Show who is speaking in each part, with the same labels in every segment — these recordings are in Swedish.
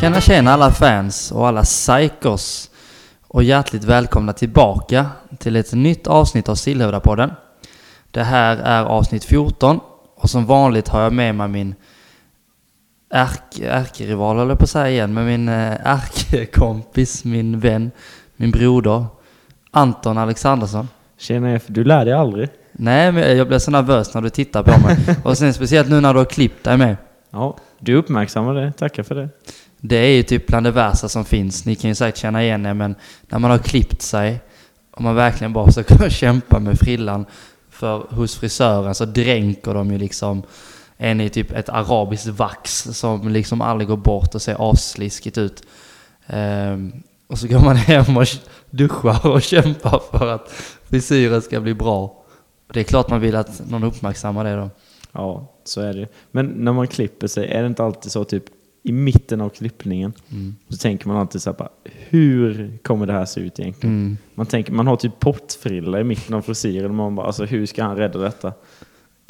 Speaker 1: Tjena tjena alla fans och alla psykos och hjärtligt välkomna tillbaka till ett nytt avsnitt av Sillhövdapodden. Det här är avsnitt 14 och som vanligt har jag med mig min ärk- ärkerival, höll jag på att säga igen, men min eh, ärkekompis, min vän, min broder Anton Alexandersson.
Speaker 2: Tjena F, du lär dig aldrig.
Speaker 1: Nej, men jag blir så nervös när du tittar på mig och sen speciellt nu när du har klippt dig med.
Speaker 2: Ja, du uppmärksammar det. Tackar för det.
Speaker 1: Det är ju typ bland det värsta som finns. Ni kan ju säkert känna igen er, men när man har klippt sig och man verkligen bara försöker kämpa med frillan för hos frisören så dränker de ju liksom en i typ ett arabiskt vax som liksom aldrig går bort och ser assliskigt ut. Ehm, och så går man hem och duschar och kämpar för att frisyren ska bli bra. Och det är klart man vill att någon uppmärksammar det då.
Speaker 2: Ja, så är det Men när man klipper sig, är det inte alltid så typ i mitten av klippningen
Speaker 1: Mm.
Speaker 2: så tänker man alltid så här bara, hur kommer det här se ut egentligen?
Speaker 1: Mm.
Speaker 2: Man tänker, man har typ pottfrilla i mitten av frisyren och man bara, alltså hur ska han rädda detta?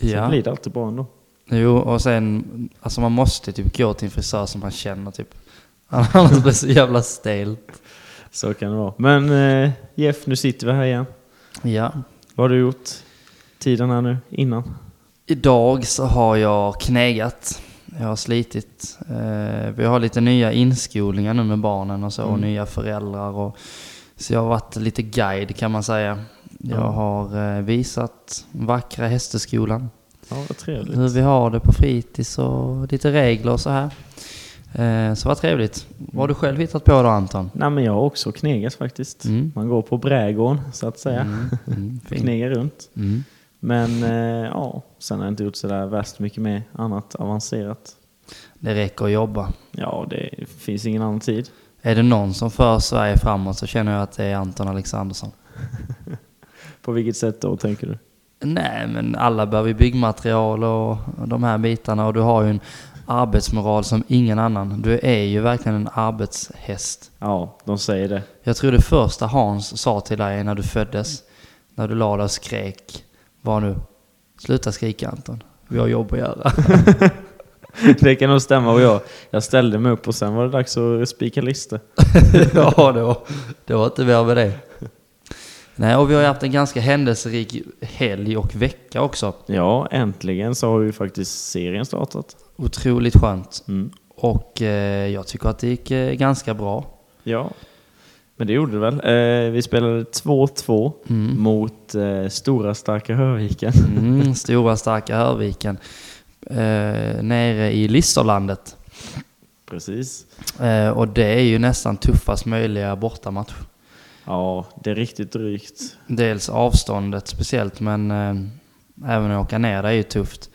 Speaker 2: Så
Speaker 1: Ja.
Speaker 2: blir det alltid bra ändå.
Speaker 1: Jo, och sen, alltså man måste typ gå till en frisör som man känner typ. Annars blir det så jävla stel.
Speaker 2: Så kan det vara. Men eh, Jeff, nu sitter vi här igen.
Speaker 1: Ja.
Speaker 2: Vad har du gjort tiden här nu, innan?
Speaker 1: Idag så har jag knegat. Jag har slitit. Eh, vi har lite nya inskolningar nu med barnen och så, och
Speaker 2: Mm.
Speaker 1: nya föräldrar. Och, så jag har varit lite guide kan man säga. Jag
Speaker 2: Ja.
Speaker 1: har eh, visat vackra hästeskolan.
Speaker 2: Ja, vad trevligt.
Speaker 1: Hur vi har det på fritids och lite regler och så här. Eh, så vad trevligt. Vad
Speaker 2: Mm.
Speaker 1: har du själv hittat på då Anton?
Speaker 2: Nej, men jag har också knegat faktiskt.
Speaker 1: Mm.
Speaker 2: Man går på brädgården, så att säga.
Speaker 1: Mm, mm, fint.
Speaker 2: Knegar runt.
Speaker 1: Mm.
Speaker 2: Men eh, ja, sen har jag inte gjort sådär värst mycket mer annat avancerat.
Speaker 1: Det räcker att jobba.
Speaker 2: Ja, det finns ingen annan tid.
Speaker 1: Är det någon som för Sverige framåt så känner jag att det är Anton Alexandersson.
Speaker 2: På vilket sätt då, tänker du?
Speaker 1: Nej, men alla behöver ju byggmaterial och de här bitarna och du har ju en arbetsmoral som ingen annan. Du är ju verkligen en arbetshäst.
Speaker 2: Ja, de säger det.
Speaker 1: Jag tror det första Hans sa till dig när du föddes, när du la dig och skrek, var nu Sluta skrika Anton, vi har jobb att göra.
Speaker 2: det kan nog stämma. Och jag, jag ställde mig upp och sen var det dags att spika listor.
Speaker 1: ja, det var, det var inte värre med det. Nej, och vi har ju haft en ganska händelserik helg och vecka också.
Speaker 2: Ja, äntligen så har ju faktiskt serien startat.
Speaker 1: Otroligt skönt.
Speaker 2: Mm.
Speaker 1: Och eh, jag tycker att det gick eh, ganska bra.
Speaker 2: Ja, men det gjorde det väl. Eh, vi spelade 2-2
Speaker 1: Mm.
Speaker 2: mot eh, stora starka Höviken.
Speaker 1: Mm, stora starka Hörviken. Eh, nere i Listerlandet.
Speaker 2: Precis.
Speaker 1: Eh, och det är ju nästan tuffast möjliga bortamatch.
Speaker 2: Ja, det är riktigt drygt.
Speaker 1: Dels avståndet speciellt, men eh, även att åka ner det är ju tufft.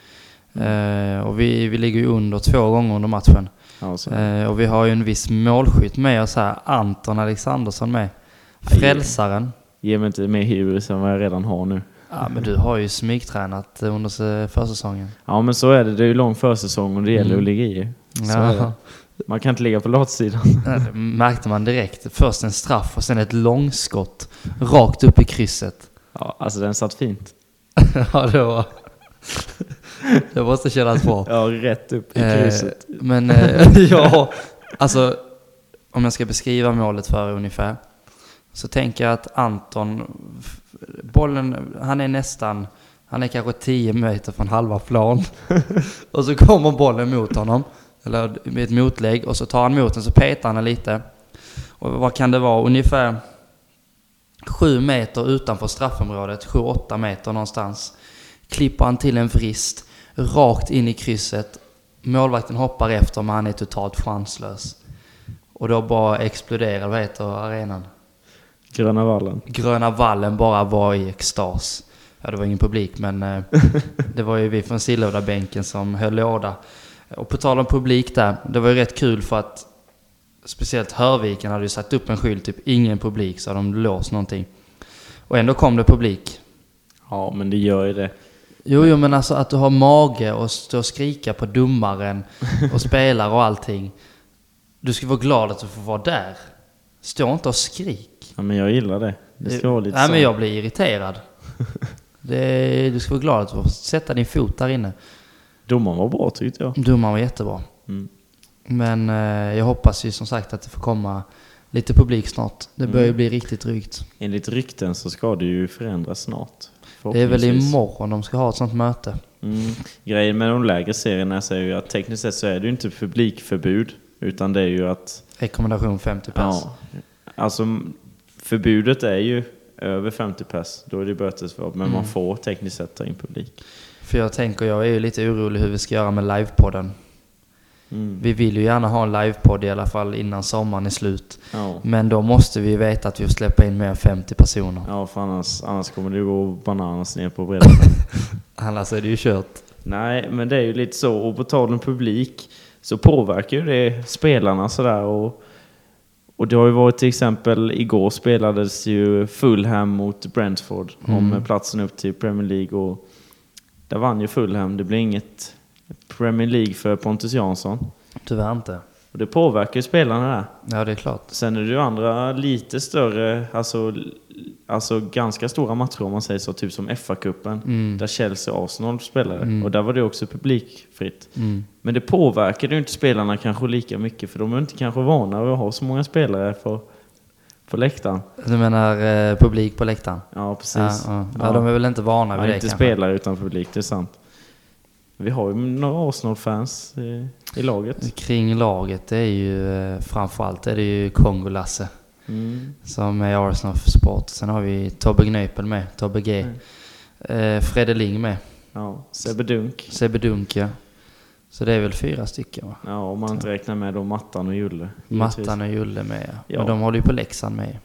Speaker 1: Eh, och vi, vi ligger ju under två gånger under matchen.
Speaker 2: Ja, så.
Speaker 1: Eh, och vi har ju en viss målskytt med oss här, Anton Alexandersson med. Frälsaren.
Speaker 2: Ge mig inte mer hybris än vad jag redan har nu.
Speaker 1: Ja, men du har ju smygtränat eh, under eh, försäsongen.
Speaker 2: Ja men så är det, det är ju lång försäsong och det gäller
Speaker 1: Mm.
Speaker 2: att ligga i. Så
Speaker 1: Ja,
Speaker 2: är det. Man kan inte ligga på latsidan.
Speaker 1: Ja, det märkte man direkt. Först en straff och sen ett långskott rakt upp i krysset.
Speaker 2: Ja, alltså den satt fint.
Speaker 1: ja, det var... det måste kännas bra.
Speaker 2: Ja, rätt upp i
Speaker 1: Eh,
Speaker 2: krysset.
Speaker 1: men eh, ja, alltså om jag ska beskriva målet för er ungefär. Så tänker jag att Anton, f- bollen, han är nästan, han är kanske 10 meter från halva plan. och så kommer bollen mot honom, eller med ett motlägg, och så tar han emot den, så petar han den lite. Och vad kan det vara, ungefär 7 meter utanför straffområdet, 7-8 meter någonstans. Klipper han till en vrist, rakt in i krysset. Målvakten hoppar efter men han är totalt chanslös. Och då bara exploderar, vad heter arenan?
Speaker 2: Gröna vallen.
Speaker 1: Gröna vallen bara var i extas. Ja, det var ingen publik, men eh, det var ju vi från Sillhövdabänken som höll låda. Och på tal om publik där, det var ju rätt kul för att speciellt Hörviken hade ju satt upp en skylt, typ ingen publik, så hade de låst någonting. Och ändå kom det publik.
Speaker 2: Ja, men det gör ju det.
Speaker 1: Jo, jo, men alltså att du har mage och stå och skrika på domaren och spelare och allting. Du ska vara glad att du får vara där. Stå inte och skrik.
Speaker 2: Ja, men jag gillar det. Det ska vara lite
Speaker 1: Eh, Nej,
Speaker 2: så.
Speaker 1: men jag blir irriterad. Det, är- du ska vara glad att du får sätta din fot där inne.
Speaker 2: Domaren var bra tyckte jag.
Speaker 1: Domaren var jättebra.
Speaker 2: Mm.
Speaker 1: Men eh, jag hoppas ju som sagt att det får komma lite publik snart. Det börjar ju
Speaker 2: Mm.
Speaker 1: bli riktigt drygt.
Speaker 2: Enligt rykten så ska det ju förändras snart.
Speaker 1: Det är väl
Speaker 2: Förhoppningsvis.
Speaker 1: imorgon de ska ha ett sånt möte.
Speaker 2: Mm. Grejen med de lägre serierna är ju att tekniskt sett så är det ju inte publikförbud. Utan det är ju att...
Speaker 1: Rekommendation 50 pers.
Speaker 2: Ja, alltså m- förbudet är ju över 50 pers. Då är det bötesförbud. Men man
Speaker 1: Mm.
Speaker 2: får tekniskt sett ta in publik.
Speaker 1: För jag tänker, jag är ju lite orolig hur vi ska göra med livepodden.
Speaker 2: Mm.
Speaker 1: Vi vill ju gärna ha en livepodd i alla fall innan sommaren är slut.
Speaker 2: Ja.
Speaker 1: Men då måste vi ju veta att vi får släppa in mer än 50 personer.
Speaker 2: ja, för annars, annars kommer det gå bananas ner på bredden.
Speaker 1: Annars är det ju kört.
Speaker 2: Nej, men det är ju lite så. Och på tal om publik så påverkar ju det spelarna sådär. Och, och det har ju varit till exempel igår spelades ju Fulham mot Brentford om platsen upp till Premier League. Och där vann ju Fulham. Det blir inget Premier League för Pontus Jansson.
Speaker 1: Tyvärr inte.
Speaker 2: Och det påverkar ju spelarna där.
Speaker 1: Ja, det är klart.
Speaker 2: Sen är det ju andra lite större, alltså, alltså ganska stora matcher om man säger så, typ som FA-cupen.
Speaker 1: Mm.
Speaker 2: Där Chelsea och Arsenal spelade.
Speaker 1: Mm.
Speaker 2: Och där var det också publikfritt.
Speaker 1: Mm.
Speaker 2: Men det påverkade ju inte spelarna kanske lika mycket för de är inte kanske vana vid att ha så många spelare på, på läktaren.
Speaker 1: Du menar eh, publik på läktaren?
Speaker 2: Ja, precis.
Speaker 1: Ja, ja. ja, de är väl inte vana
Speaker 2: Ja,
Speaker 1: vid det
Speaker 2: inte
Speaker 1: kanske.
Speaker 2: spelare utan publik, det är sant. Vi har ju några Arsenal-fans i, i laget.
Speaker 1: Kring laget, det är ju eh, framförallt är det ju Kongo-Lasse
Speaker 2: Mm.
Speaker 1: som är Arsenal för sport. Sen har vi Tobbe Gnöpel med, Tobbe G. Eh, Fredde Ling med,
Speaker 2: Ja, Sebbe Dunk.
Speaker 1: Sebbe Dunke. Så det är väl fyra stycken va?
Speaker 2: Ja, om man inte räknar med då Mattan och Julle. givetvis.
Speaker 1: Mattan och Julle med ja.
Speaker 2: Ja.
Speaker 1: Men de håller ju på Leksand med.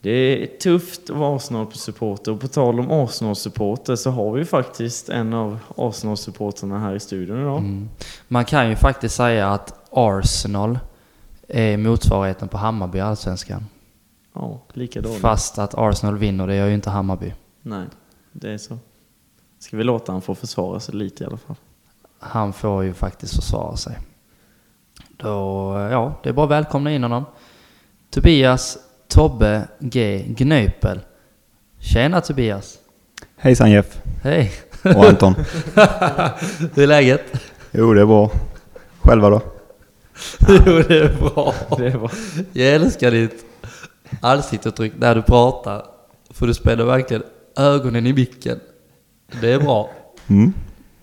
Speaker 2: Det är tufft att vara Arsenal-supporter och på tal om Arsenal-supporter så har vi ju faktiskt en av Arsenal-supporterna här i studion idag.
Speaker 1: Mm. Man kan ju faktiskt säga att Arsenal är motsvarigheten på Hammarby i Allsvenskan.
Speaker 2: Ja, lika dåligt.
Speaker 1: Fast att Arsenal vinner, det gör ju inte Hammarby.
Speaker 2: Nej, det är så. Ska vi låta han få försvara sig lite i alla fall?
Speaker 1: Han får ju faktiskt försvara sig. Då, eh, ja, det är bara att välkomna in honom. Tobias Tobbe G Gnöpel. Tjena Tobias!
Speaker 3: Hejsan Jeff
Speaker 1: Hej!
Speaker 3: och Anton.
Speaker 1: Hur är läget?
Speaker 3: Jo, det är bra. Själva då?
Speaker 1: jo, det är bra.
Speaker 2: Det var...
Speaker 1: Jag älskar ditt ansiktsuttryck när du pratar. För du spänner verkligen ögonen i micken. Det är bra.
Speaker 3: Mm.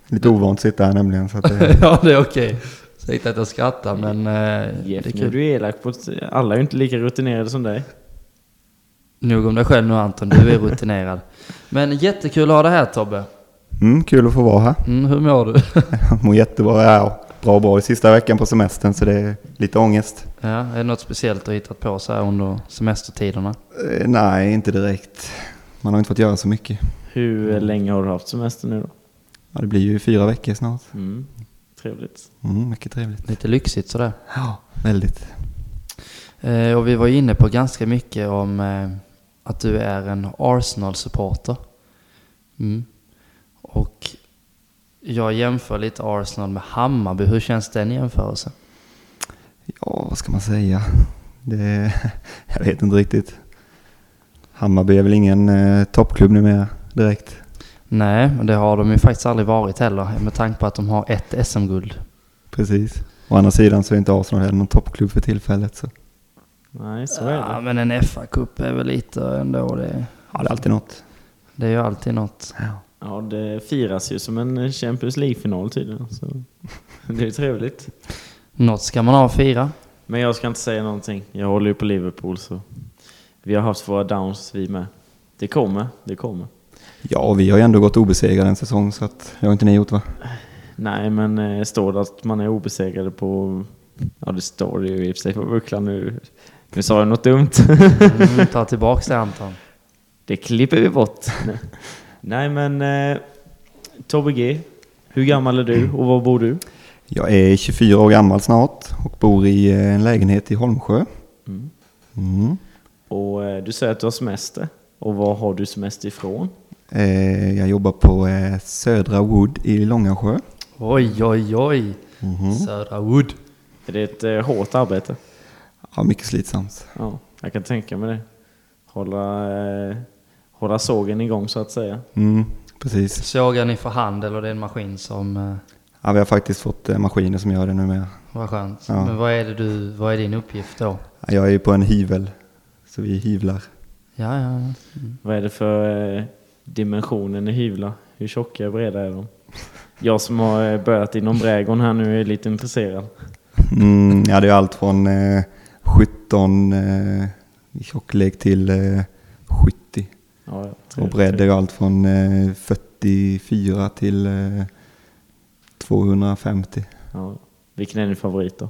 Speaker 3: Lite ovant att sitta här nämligen. Så att det...
Speaker 1: ja, det är okej. Säg inte att jag skrattar, men eh,
Speaker 2: Jeff,
Speaker 1: det är
Speaker 2: nu är
Speaker 1: kul.
Speaker 2: du elak på... Alla är ju inte lika rutinerade som dig.
Speaker 1: Nog om dig själv nu Anton, du är rutinerad. Men jättekul att ha dig här Tobbe.
Speaker 3: Mm, kul att få vara här.
Speaker 1: Mm, hur mår du?
Speaker 3: Jag mår jättebra. Ja, bra, bra. I sista veckan på semestern så det är lite ångest.
Speaker 1: ja, är det något speciellt du har hittat på så här under semestertiderna?
Speaker 3: Eh, nej, inte direkt. Man har inte fått göra så mycket.
Speaker 2: Hur
Speaker 1: Mm.
Speaker 2: länge har du haft semester nu då?
Speaker 3: Ja, det blir ju fyra veckor snart.
Speaker 2: Mm. Trevligt.
Speaker 3: Mm, mycket trevligt.
Speaker 1: Lite lyxigt sådär.
Speaker 3: Ja, väldigt.
Speaker 1: Eh, och vi var ju inne på ganska mycket om eh, att du är en Arsenal-supporter. Mm. Och jag jämför lite Arsenal med Hammarby. Hur känns den jämförelsen?
Speaker 3: Ja, vad ska man säga? Det... Jag vet inte riktigt. Hammarby är väl ingen eh, toppklubb numera direkt.
Speaker 1: Nej, och det har de ju faktiskt aldrig varit heller med tanke på att de har ett SM-guld.
Speaker 3: Precis. Å andra sidan så är inte Arsenal heller någon toppklubb för tillfället. Så.
Speaker 2: Nej, så är
Speaker 1: Ja,
Speaker 2: det.
Speaker 1: men en FA-cup är väl lite ändå det.
Speaker 3: Ja, det är alltid något.
Speaker 1: Det är ju alltid något.
Speaker 2: Ja, det firas ju som en Champions League-final tydligen. Så. Det är ju trevligt.
Speaker 1: Något ska man ha att fira.
Speaker 2: Men jag ska inte säga någonting. Jag håller ju på Liverpool så... Vi har haft våra downs vi med. Det kommer, det kommer.
Speaker 3: Ja, vi har ju ändå gått obesegrade en säsong så att det har inte ni gjort va?
Speaker 2: Nej, men eh, står det att man är obesegrade på... Ja, det står det ju i och för sig på bucklan nu. Nu sa jag något dumt.
Speaker 1: Mm, ta tillbaks det Anton.
Speaker 2: Det klipper vi bort. Nej, Nej men... Eh, Tobbe G, hur gammal är du och var bor du?
Speaker 3: Jag är 24 år gammal snart och bor i eh, en lägenhet i Holmsjö.
Speaker 2: Mm.
Speaker 3: Mm.
Speaker 2: Och eh, du säger att du har semester. Och var har du semester ifrån?
Speaker 3: Eh, Jag jobbar på eh, Södra Wood i Långasjö.
Speaker 1: Oj, oj, oj.
Speaker 2: Mhm.
Speaker 1: Södra Wood.
Speaker 2: Är det ett eh, hårt arbete?
Speaker 3: Ja, mycket slitsamt.
Speaker 2: Ja, jag kan tänka mig det. Hålla, eh, hålla sågen igång så att säga.
Speaker 3: Mm, precis.
Speaker 1: Sågar ni för hand eller det är en maskin som... eh,
Speaker 3: Ja, vi har faktiskt fått eh, maskiner som gör det nu med.
Speaker 1: Vad skönt.
Speaker 3: Ja.
Speaker 1: Men vad är, det du, vad är din uppgift då?
Speaker 3: Ja, Jag är ju på en hyvel, så vi hyvlar.
Speaker 1: Ja, ja, ja.
Speaker 2: Vad är det för eh, dimensionen i hyvlar? Hur tjocka och breda är de? Jag som har eh, börjat inom brädgården här nu är lite intresserad.
Speaker 3: Mm, ja, det är allt från eh, 17 eh, i tjocklek till eh, 70.
Speaker 2: Ja,
Speaker 3: Och bredd är ju allt från eh, 44 till eh, 250.
Speaker 2: Ja. Vilken är din favorit då?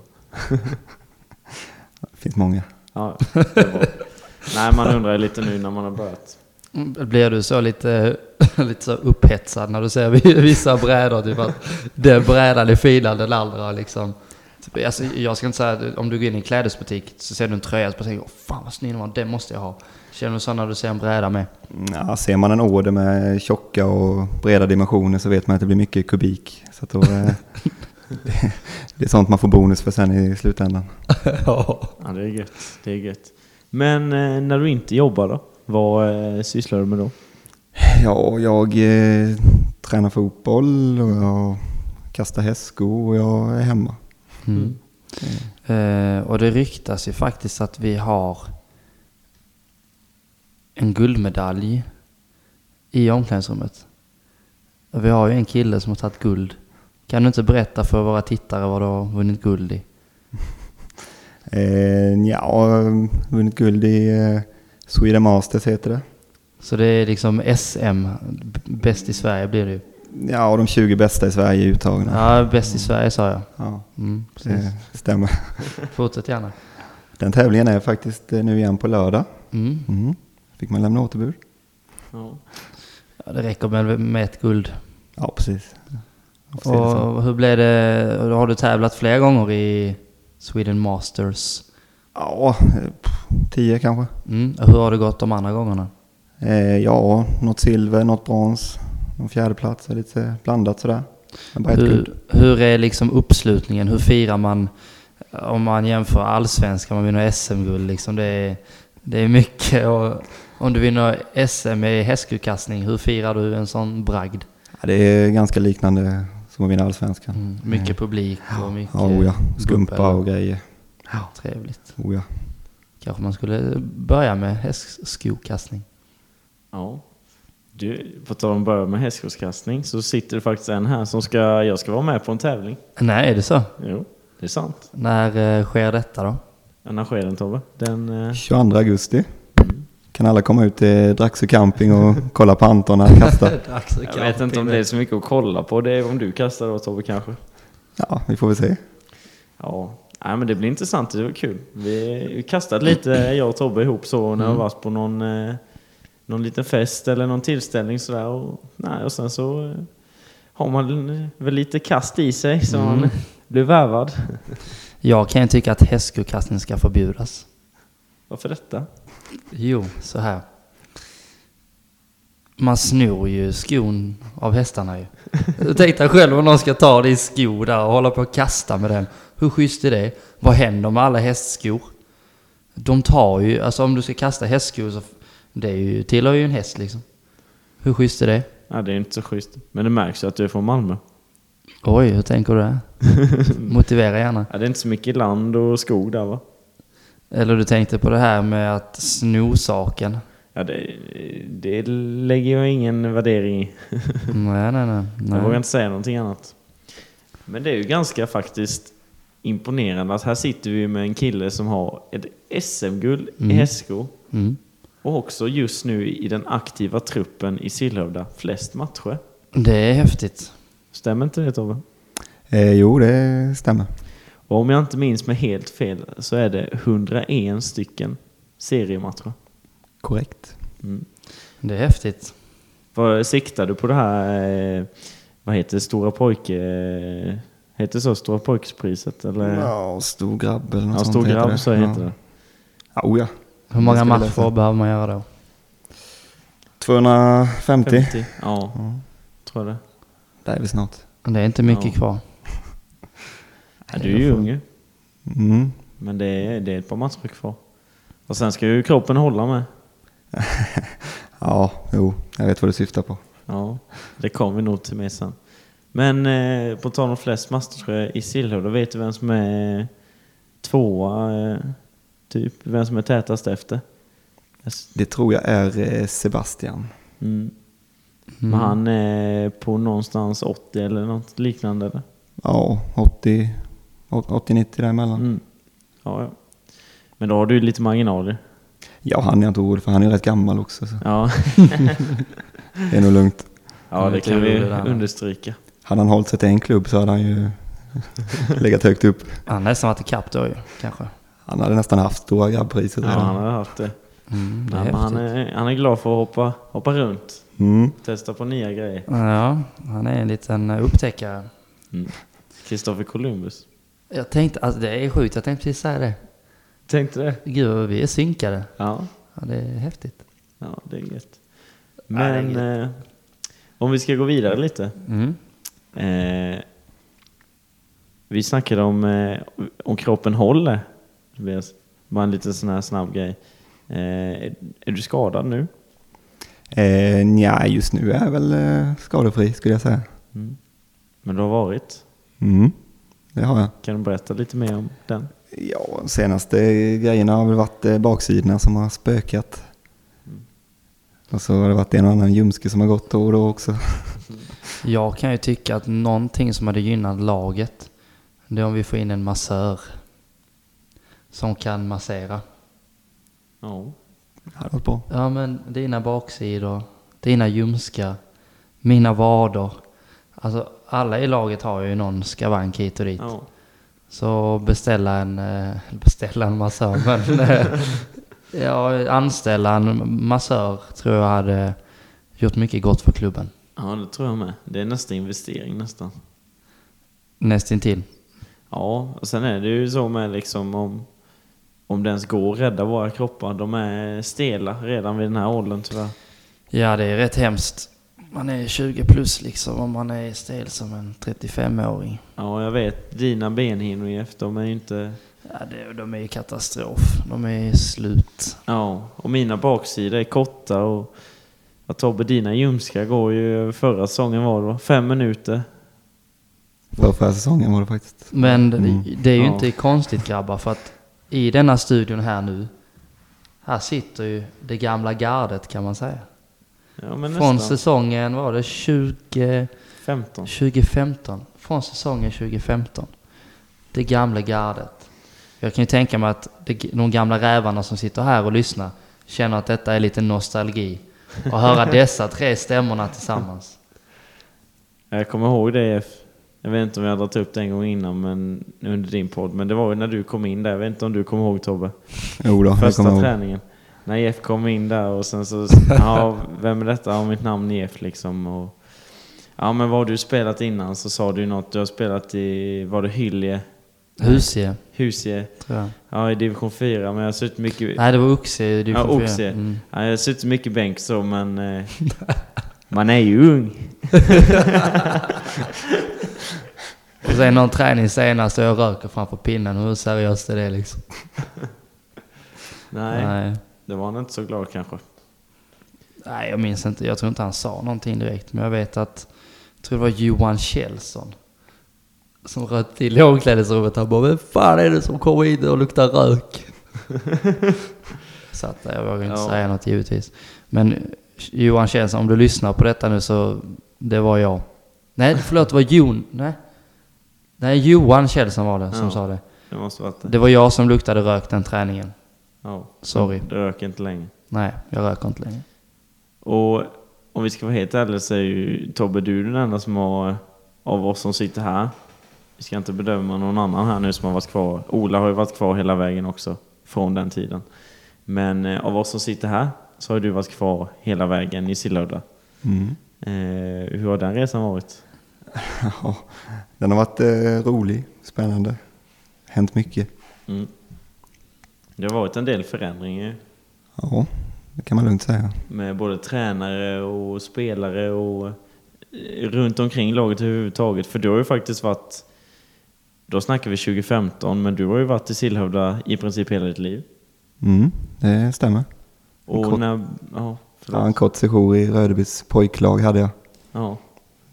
Speaker 3: Det finns många.
Speaker 2: Ja, det är bra. Nej, man undrar ju lite nu när man har börjat.
Speaker 1: Mm, Blir du så lite, lite så upphetsad när du ser vi- vissa brädor? Typ att den brädan är finare än den andra liksom. Typ, Alltså, jag ska inte säga att om du går in i en klädesbutik så ser du en tröja och tänker "Åh, fan vad snygg den var, den måste jag ha. Känner du så när du ser en bräda med?
Speaker 3: Ja, ser man en order med tjocka och breda dimensioner så vet man att det blir mycket kubik. Så att då, eh, det, det är sånt man får bonus för sen i slutändan.
Speaker 1: ja.
Speaker 2: Ja, det är gött. Det är gött. Men eh, när du inte jobbar då? Vad eh, sysslar du med då?
Speaker 3: Ja, jag eh, tränar fotboll och jag kastar hästsko och jag är hemma.
Speaker 1: Mm. Eh, och det ryktas ju faktiskt att vi har en guldmedalj i omklädningsrummet. Och vi har ju en kille som har tagit guld. Kan du inte berätta för våra tittare vad du har vunnit guld i?
Speaker 3: Eh, ja, vunnit guld i eh, Sweden Masters heter det.
Speaker 1: Så det är liksom SM, b- bäst i Sverige blir det ju.
Speaker 3: Ja, och de 20 bästa i Sverige är uttagna.
Speaker 1: Ja, bäst i Sverige sa jag.
Speaker 3: Ja,
Speaker 1: Mm, precis.
Speaker 3: det stämmer.
Speaker 1: Fortsätt gärna.
Speaker 3: Den tävlingen är faktiskt eh, nu igen på lördag.
Speaker 1: Mm.
Speaker 3: Mm. Fick man lämna återbud?
Speaker 2: Ja.
Speaker 1: Ja, det räcker med, med ett guld.
Speaker 3: Ja, precis. Jag får se det så.
Speaker 1: Och hur blev det? Har du tävlat flera gånger i Sweden Masters?
Speaker 3: Ja, eh, pff, 10 kanske.
Speaker 1: Mm. och Hur har det gått de andra gångerna?
Speaker 3: Eh, ja, något silver, något brons, någon fjärdeplats och lite blandat sådär. Men bara ett guld.
Speaker 1: Hur, hur är liksom uppslutningen? Hur firar man om man jämför allsvenskan, man vinner SM-guld liksom. Det är, det är mycket och om du vinner SM i hästkukastning, hur firar du en sån bragd?
Speaker 3: Ja, det är ganska liknande som att vinna allsvenskan.
Speaker 1: Mm. Mycket publik och mycket
Speaker 3: Ja, oh ja. Skumpa
Speaker 1: bubbel.
Speaker 3: och grejer.
Speaker 1: Trevligt.
Speaker 3: Oh ja.
Speaker 1: Kanske man skulle börja med hästskokastning.
Speaker 2: ja. Du, på tal om att börja med hästskotskastning så sitter det faktiskt en här som ska... Jag ska vara med på en tävling.
Speaker 1: Nej, är det så?
Speaker 2: Jo, det är sant.
Speaker 1: När eh, sker detta då?
Speaker 2: Arrangera den Tobbe. Den... Eh,
Speaker 3: 22 augusti.
Speaker 2: Mm.
Speaker 3: Kan alla komma ut till Draxö camping och kolla på Anton när han kastar?
Speaker 2: jag vet inte om det är så mycket att kolla på. Det är om du kastar då Tobbe kanske.
Speaker 3: Ja, vi får väl se.
Speaker 2: Ja, Nej, men det blir intressant. Det var kul. Vi vi kastade lite, jag och Tobbe, ihop så när vi varit på någon, eh, någon liten fest eller någon tillställning sådär. Och, nej, och sen så eh, har man eh, väl lite kast i sig så man blir värvad.
Speaker 1: Jag kan ju tycka att hästkukastning ska förbjudas.
Speaker 2: Varför detta?
Speaker 1: Jo, så här. Man snor ju skon av hästarna ju. Tänk dig själv om någon ska ta din sko där och hålla på och kasta med den. Hur schysst är det? Vad händer med alla hästskor? De tar ju, alltså om du ska kasta hästskor så, det är ju, tillhör ju en häst liksom. Hur schysst är det?
Speaker 2: Nej, det är inte så schysst. Men det märks ju att du är från Malmö.
Speaker 1: Oj, hur tänker du där? Motivera gärna.
Speaker 2: Ja, det är inte så mycket land och skog där va?
Speaker 1: Eller du tänkte på det här med att sno saken?
Speaker 2: Ja, det, det lägger jag ingen värdering i.
Speaker 1: Nej, nej, nej.
Speaker 2: Jag vågar
Speaker 1: nej.
Speaker 2: inte säga någonting annat. Men det är ju ganska faktiskt imponerande att här sitter vi med en kille som har ett SM-guld i
Speaker 1: Mm.
Speaker 2: hästsko
Speaker 1: Mm.
Speaker 2: och också just nu i den aktiva truppen i Sillhövda flest matcher.
Speaker 1: Det är häftigt.
Speaker 2: Stämmer inte det Tobbe?
Speaker 3: Eh, jo, det stämmer.
Speaker 2: Och om jag inte minns mig helt fel så är det 101 stycken seriematcher.
Speaker 3: Korrekt.
Speaker 2: Mm.
Speaker 1: Det är häftigt.
Speaker 2: Vad siktar du på det här, eh, vad heter det, Stora pojke... eh, Heter det så? Stora pojkspriset? Eller?
Speaker 3: Ja, stor grabb eller något
Speaker 2: Eh, ja,
Speaker 3: sånt
Speaker 2: Stor grabb så heter
Speaker 3: ja.
Speaker 2: det.
Speaker 3: Ja, oh ja.
Speaker 1: Hur
Speaker 3: Det
Speaker 1: många
Speaker 3: ska vi lösa.
Speaker 1: matcher behöver man göra då?
Speaker 3: 250.
Speaker 2: 50? Ja,
Speaker 3: Ja,
Speaker 2: tror jag det.
Speaker 3: det är vi snart.
Speaker 1: Det är inte mycket
Speaker 2: Ja.
Speaker 1: kvar.
Speaker 2: Ja, du är ju ung ju.
Speaker 3: Mm.
Speaker 2: men det är, det är ett par matcher kvar. Och sen ska ju kroppen hålla med.
Speaker 3: Ja, jo, jag vet vad du syftar på.
Speaker 2: Ja, det kommer vi nog till med sen. Men eh, på tal om flest mastertröjor i Sillhöjd, då vet du vem som är tvåa, eh, typ? Vem som är tätast efter? Yes.
Speaker 3: Det tror jag är eh, Sebastian.
Speaker 2: Mm. Men han är på någonstans 80 eller något liknande, eller?
Speaker 3: Ja, 80, 80-90 däremellan.
Speaker 2: Mm. Ja, ja. Men då har du ju lite marginaler.
Speaker 3: Ja, han är inte orolig för han är rätt gammal också. Så
Speaker 2: Ja,
Speaker 3: det är nog lugnt.
Speaker 2: ja det
Speaker 1: lite
Speaker 2: kan vi
Speaker 1: orolig där, va?
Speaker 2: understryka.
Speaker 3: Hade han hållit sig till en klubb så hade han ju legat högt upp.
Speaker 1: Han har nästan varit ikapp då ju, kanske.
Speaker 3: Han hade nästan haft stora grabbpriset
Speaker 2: Ja,
Speaker 3: redan.
Speaker 2: han har haft det.
Speaker 1: Mm, det
Speaker 2: Ja,
Speaker 1: är
Speaker 2: men han,
Speaker 1: häftigt.
Speaker 2: är, han är glad för att hoppa, hoppa runt,
Speaker 3: Mm.
Speaker 2: testa på nya grejer.
Speaker 1: Ja, han är en liten upptäckare.
Speaker 2: Kristoffer Columbus.
Speaker 1: Jag tänkte, alltså det är sjukt, jag tänkte precis säga det.
Speaker 2: Tänkte det?
Speaker 1: Gud, vi är synkade.
Speaker 2: Ja,
Speaker 1: Ja, det är häftigt.
Speaker 2: ja det är gött.
Speaker 1: Ja, det är
Speaker 2: Men eh, om vi ska gå vidare lite.
Speaker 1: Mm.
Speaker 2: Eh, vi snackade om, eh, om kroppen håller. Tobias. Bara en liten sån här snabb grej. Eh, är, är du skadad nu?
Speaker 3: Eh, nja, just nu är jag väl eh, skadefri skulle jag säga.
Speaker 2: Men du har varit.
Speaker 3: Mm. Det har jag.
Speaker 2: Kan du berätta lite mer om den?
Speaker 3: Ja, de senaste grejerna har väl varit eh, baksidorna som har spökat.
Speaker 2: Mm.
Speaker 3: Och så har det varit en och annan ljumske som har gått då och då också.
Speaker 1: Jag kan ju tycka att någonting som hade gynnat laget, det är om vi får in en massör. Som kan massera.
Speaker 2: Ja.
Speaker 3: Det hade varit bra.
Speaker 1: Ja men dina baksidor, dina ljumskar, mina vader. Alltså alla i laget har ju någon skavank hit och dit.
Speaker 2: ja.
Speaker 1: Så beställa en, eh, beställa en massör. Men, eh, ja, anställa en massör tror jag hade gjort mycket gott för klubben.
Speaker 2: Ja, det tror jag med. Det är nästa investering nästan.
Speaker 1: Nästintill.
Speaker 2: Ja, och sen är det ju så med liksom om, om det ens går att rädda våra kroppar. De är stela redan vid den här åldern tyvärr.
Speaker 1: Ja, det är rätt hemskt. Man är 20 plus liksom om man är stel som en 35-åring.
Speaker 2: Ja, jag vet. Dina benhinnor Jeff, de är ju inte...
Speaker 1: Ja, det, de är ju katastrof. De är slut.
Speaker 2: Ja, och mina baksidor är korta och... Ja, Tobbe, dina ljumskar går ju... Förra säsongen var det va? Fem minuter.
Speaker 3: För förra säsongen var det faktiskt.
Speaker 1: Men det-
Speaker 3: Mm.
Speaker 1: det är ju
Speaker 2: Ja.
Speaker 1: inte konstigt grabbar för att i denna studion här nu, här sitter ju det gamla gardet kan man säga.
Speaker 2: Ja, men
Speaker 1: Från
Speaker 2: nästan.
Speaker 1: säsongen, var det 20,
Speaker 2: 15.
Speaker 1: 2015? Från säsongen 2015. Det gamla gardet. Jag kan ju tänka mig att det, de gamla rävarna som sitter här och lyssnar känner att detta är lite nostalgi. Och höra dessa tre stämmorna tillsammans.
Speaker 2: Jag kommer ihåg det Jeff. Jag vet inte om jag har dragit upp det en gång innan men under din podd. Men det var ju när du kom in där. Jag vet inte om du kommer ihåg Tobbe.
Speaker 3: Jo då, jag
Speaker 2: Första
Speaker 3: kommer ihåg.
Speaker 2: träningen. När Jeff kom in där och sen så... Ja, vem är detta? Ja, mitt namn är Jeff liksom. Och, ja, men vad har du spelat innan? Så sa du ju något. Du har spelat i... Var det Hylje?
Speaker 1: Husie,
Speaker 2: Husie?
Speaker 1: tror jag.
Speaker 2: Ja, i division 4. Men jag har suttit mycket...
Speaker 1: Nej, det var Oxie. Det är
Speaker 2: ja,
Speaker 1: från fyra.
Speaker 2: Oxie.
Speaker 1: Mm.
Speaker 2: Ja, jag har suttit mycket bänk så, men... Eh, man är ju ung.
Speaker 1: Och sen någon träning senast och jag röker framför pinnen. Hur seriöst är det liksom?
Speaker 2: Nej,
Speaker 1: Nej.
Speaker 2: det var han inte så glad kanske.
Speaker 1: Nej, jag minns inte. Jag tror inte han sa någonting direkt. Men jag vet att, jag tror det var Johan Kjellson. Som röt till i omklädningsrummet. Han bara, vem fan är det som kommer in och luktar rök? Satt där, jag vågar inte
Speaker 2: Ja.
Speaker 1: säga något givetvis. Men Johan Kjellson, om du lyssnar på detta nu så, det var jag. Nej, förlåt, det var Jon, nej. Nej, Johan Kjellson var det som
Speaker 2: Ja.
Speaker 1: sa det.
Speaker 2: Det måste varit det.
Speaker 1: Det var jag som luktade rök den träningen.
Speaker 2: Ja.
Speaker 1: Sorry.
Speaker 2: Det röker inte längre.
Speaker 1: Nej, jag röker inte längre.
Speaker 2: Och om vi ska vara helt ärliga så är ju Tobbe du den enda som har, av oss som sitter här. Vi ska inte bedöma någon annan här nu som har varit kvar. Ola har ju varit kvar hela vägen också, från den tiden. Men eh, av oss som sitter här så har du varit kvar hela vägen i Sillhöjda.
Speaker 3: Mm.
Speaker 2: Eh, hur har den resan varit?
Speaker 3: Ja, den har varit eh, rolig, spännande. Hänt mycket.
Speaker 2: Mm. Det har varit en del förändringar
Speaker 3: Ja, det kan man lugnt säga.
Speaker 2: med både tränare och spelare och eh, runt omkring laget överhuvudtaget. För du har ju faktiskt varit, då snackar vi 2015, men du har ju varit i Sillhövda i princip hela ditt liv.
Speaker 3: Mm, det stämmer.
Speaker 2: Och
Speaker 3: Kort-
Speaker 2: när, ja, förlåt.
Speaker 3: Ja, en kort sejour i Rödebys pojklag hade jag.
Speaker 2: Ja.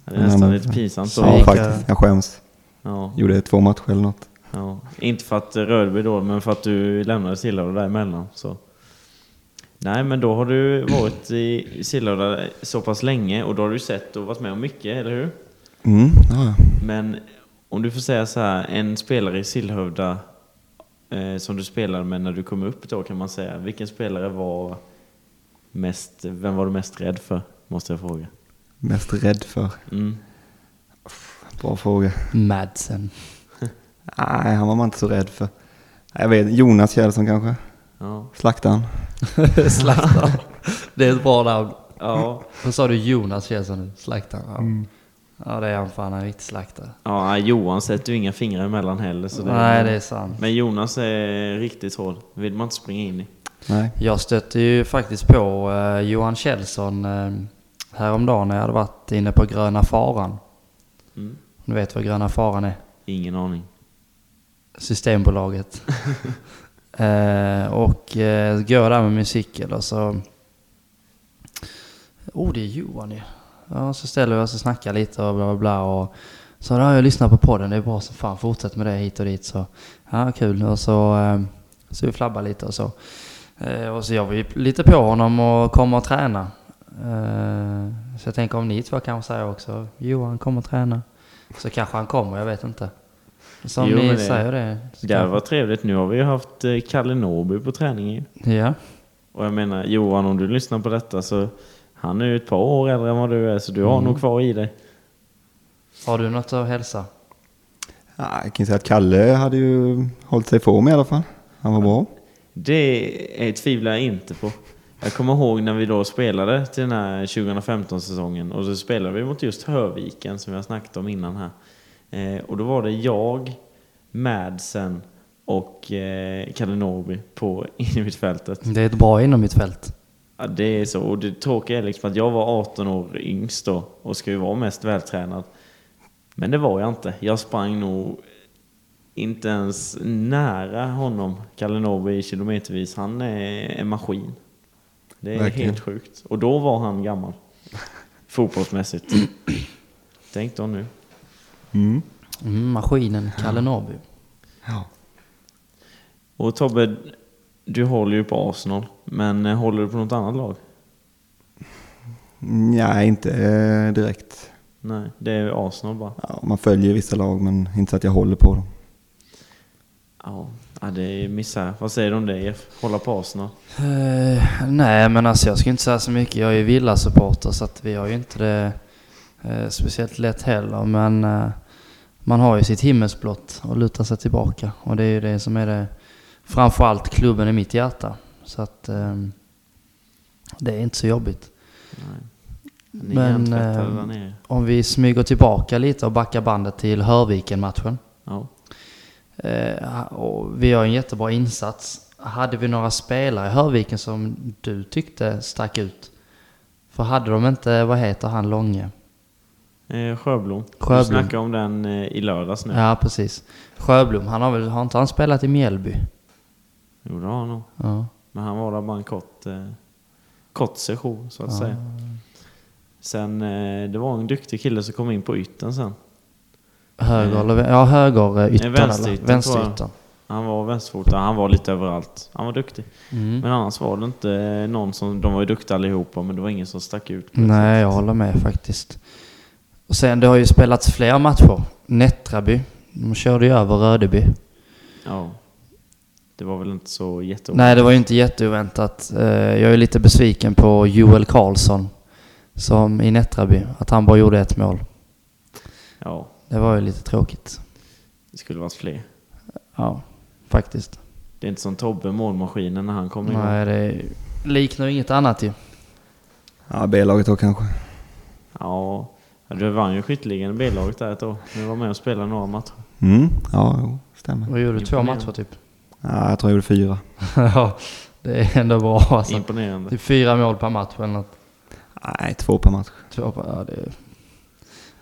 Speaker 2: Det är nästan
Speaker 3: Men-
Speaker 2: lite pinsamt. Så.
Speaker 3: Ja,
Speaker 1: gick jag-
Speaker 3: faktiskt. Jag skäms.
Speaker 2: Ja,
Speaker 3: Gjorde två matcher eller något.
Speaker 2: ja. Inte för att Rödby då, men för att du lämnade Sillhöjda däremellan. Så. Nej, men då har du varit i Sillhöjda så pass länge och då har du sett och varit med om mycket, eller hur?
Speaker 3: Mm, ja, ja.
Speaker 2: Men om du får säga så här, en spelare i Sillhövda eh, som du spelade med när du kom upp då kan man säga. Vilken spelare var mest, vem var du mest rädd för? Måste jag fråga.
Speaker 3: Mest rädd för.
Speaker 2: Mm.
Speaker 3: Bra fråga.
Speaker 1: Madsen.
Speaker 3: Nej, han var man inte så rädd för. Jag vet, Jonas Kjellson kanske?
Speaker 2: Ja.
Speaker 3: Slaktaren?
Speaker 1: Slaktaren. Det är ett bra namn.
Speaker 2: Ja.
Speaker 1: Vad sa du Jonas Kjellson nu? Slaktaren? Ja. ja, det är han fan. Han är riktigt slaktare.
Speaker 2: ja, Johan sätter ju inga fingrar emellan heller. Så det,
Speaker 1: Nej, det är sant.
Speaker 2: Men Jonas är riktigt hård. vill man inte springa in i.
Speaker 3: Nej.
Speaker 1: Jag stötte ju faktiskt på eh, Johan Kjellson eh, häromdagen när jag hade varit inne på Gröna Faran.
Speaker 2: Mm.
Speaker 1: Du vet vad Gröna Faran är?
Speaker 2: Ingen aning.
Speaker 1: Systembolaget. eh, och eh, går där med min cykel och så... Oh, det är Johan ju. Ja, så ställer vi oss och snackar lite och bla bla bla. Och så har jag lyssnat på podden, det är bra som fan, fortsätt med det hit och dit. Så ja, kul. Och så, eh, så vi flabbar lite och så. Eh, och så gör vi lite på honom och kommer att träna. Eh, så jag tänker om ni två kanske säger också, Johan kommer att träna. Så kanske han kommer, jag vet inte. Så om
Speaker 2: Jo,
Speaker 1: ni
Speaker 2: men det-
Speaker 1: säger det. så
Speaker 2: Det här
Speaker 1: kanske-
Speaker 2: var trevligt. Nu har vi ju haft eh, Kalle Norby på träningen ju.
Speaker 1: Ja,
Speaker 2: Och jag menar Johan, om du lyssnar på detta så han är ju ett par år äldre än vad du är så du
Speaker 1: Mm.
Speaker 2: har nog kvar i dig.
Speaker 1: har du något att hälsa?
Speaker 3: Ja, jag kan ju säga att Kalle hade ju hållit sig i form i alla fall. Han var bra.
Speaker 2: Det är, tvivlar jag inte på. Jag kommer ihåg när vi då spelade till den här 2015-säsongen och så spelade vi mot just Hörviken som jag snackat om innan här. Eh, och då var det jag, Madsen och eh, Kalle Norby på innermittfältet.
Speaker 1: Det är ett bra inom mitt fält.
Speaker 2: Ja, det är så. Och det tråkiga är liksom att jag var 18 år yngst då och ska ju vara mest vältränad. Men det var jag inte. Jag sprang nog inte ens nära honom, Kalle Norby, kilometervis. Han är en maskin. Det är
Speaker 3: Verkligen.
Speaker 2: helt sjukt. Och då var han gammal. Fotbollsmässigt. Tänk då nu.
Speaker 3: Mm.
Speaker 1: Mm, maskinen Kalle Norrby.
Speaker 3: Ja.
Speaker 2: Och Tobbe, du håller ju på Arsenal. Men eh, håller du på något annat lag?
Speaker 3: Nej, inte eh, direkt.
Speaker 2: Nej, det är ju Arsenal bara.
Speaker 3: Ja, man följer vissa lag men inte så att jag håller på dem.
Speaker 2: Ja, ja, det är misär. Vad säger du om det Jeff? Hålla på Arsenal?
Speaker 1: Eh, nej, men alltså jag ska inte säga så mycket. Jag är ju villasupporter så att vi har ju inte det eh, speciellt lätt heller. Men eh, man har ju sitt himmelsblått och luta sig tillbaka. Och det är ju det som är det framförallt klubben i mitt hjärta. Så att eh, det är inte så jobbigt.
Speaker 2: Nej. Ni är
Speaker 1: Men,
Speaker 2: hjärntvättade
Speaker 1: ehm,
Speaker 2: där nere.
Speaker 1: Om vi smyger tillbaka lite och backar bandet till Hörviken-matchen.
Speaker 2: Ja.
Speaker 1: Eh, och vi gör en jättebra insats. Hade vi några spelare i Hörviken som du tyckte stack ut? För hade de inte, vad heter han, Långe?
Speaker 2: Eh, Sjöblom.
Speaker 1: Sjöblom.
Speaker 2: Du snackade om den eh, i lördags nu.
Speaker 1: Ja, precis. Sjöblom, han har väl, har inte han spelat i Mjällby?
Speaker 2: Jo, det har han nog.
Speaker 1: Ja.
Speaker 2: Men han var där bara en kort, eh, kort session, så att säga. Sen, eh, det var en duktig kille som kom in på ytten sen.
Speaker 1: Höger,
Speaker 2: Eh,
Speaker 1: eller, vä- ja, höger eh, ytter,
Speaker 2: eh, vänsterytter,
Speaker 1: eller? Vänsterytter.
Speaker 2: tror Han var vänsterfotad, han var lite överallt. Han var duktig.
Speaker 1: Mm.
Speaker 2: Men annars var det inte eh, någon som... De var ju duktiga allihopa, men det var ingen som stack ut. på det
Speaker 1: Nej, jag
Speaker 2: sättet.
Speaker 1: håller med faktiskt. Och sen, det har ju spelats fler matcher. Nättraby, de körde ju över Rödeby.
Speaker 2: Ja. Det var väl inte så jätteoväntat.
Speaker 1: Nej, det var ju inte jätteoväntat. Eh, Jag är lite besviken på Joel Karlsson som i Nättraby, att han bara gjorde ett mål.
Speaker 2: Ja,
Speaker 1: Det var ju lite tråkigt.
Speaker 2: det skulle varit fler.
Speaker 1: Ja, faktiskt.
Speaker 2: Det är inte som Tobbe, målmaskinen, när han kommer igång.
Speaker 1: Nej, det liknar ju inget annat ju.
Speaker 3: Ja, B-laget då kanske.
Speaker 2: Ja, du vann ju skytteligan i B-laget där ett år. Du var med och spelade några matcher.
Speaker 3: Mm. Ja, jo, stämmer.
Speaker 1: Och gjorde två
Speaker 2: Imponerande.
Speaker 1: matcher typ.
Speaker 3: Ja, jag tror jag gjorde fyra.
Speaker 1: Ja, det är ändå bra alltså.
Speaker 2: Imponerande.
Speaker 1: Typ fyra mål per match eller något.
Speaker 3: Nej, två per match.
Speaker 1: Två per, ja, det,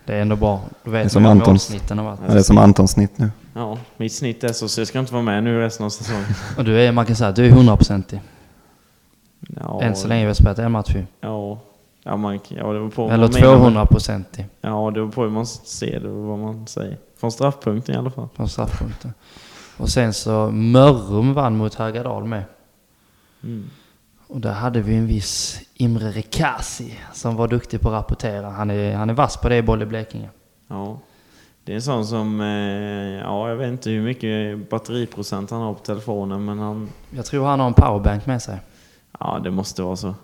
Speaker 1: det är ändå bra. Då
Speaker 3: är
Speaker 1: vet
Speaker 3: som
Speaker 1: man vad
Speaker 3: Antons.
Speaker 1: målsnitten har
Speaker 3: Ja, det är
Speaker 1: varit.
Speaker 3: som Antons snitt nu.
Speaker 2: Ja, mitt snitt är så, så jag ska inte vara med nu resten av säsongen.
Speaker 1: Och du är, man kan säga att du är hundraprocentig.
Speaker 2: Ja,
Speaker 1: Än så länge vi har spelat en match ju.
Speaker 2: Ja, ja, man, ja det var på vad
Speaker 1: Eller
Speaker 2: man menar med-
Speaker 1: 200 procentig.
Speaker 2: Ja, det beror på hur man ser det och vad man säger. Från straffpunkten i alla fall.
Speaker 1: från straffpunkten. Och sen så Mörrum vann mot Hagadal med.
Speaker 2: Mm.
Speaker 1: Och där hade vi en viss Imre Rekasi som var duktig på att rapportera. Han är, han är vass på det i boll i Blekinge.
Speaker 2: Ja. Det är en sån som, eh, ja jag vet inte hur mycket batteriprocent han har på telefonen men han,
Speaker 1: Jag tror han har en powerbank med sig.
Speaker 2: ja det måste vara så.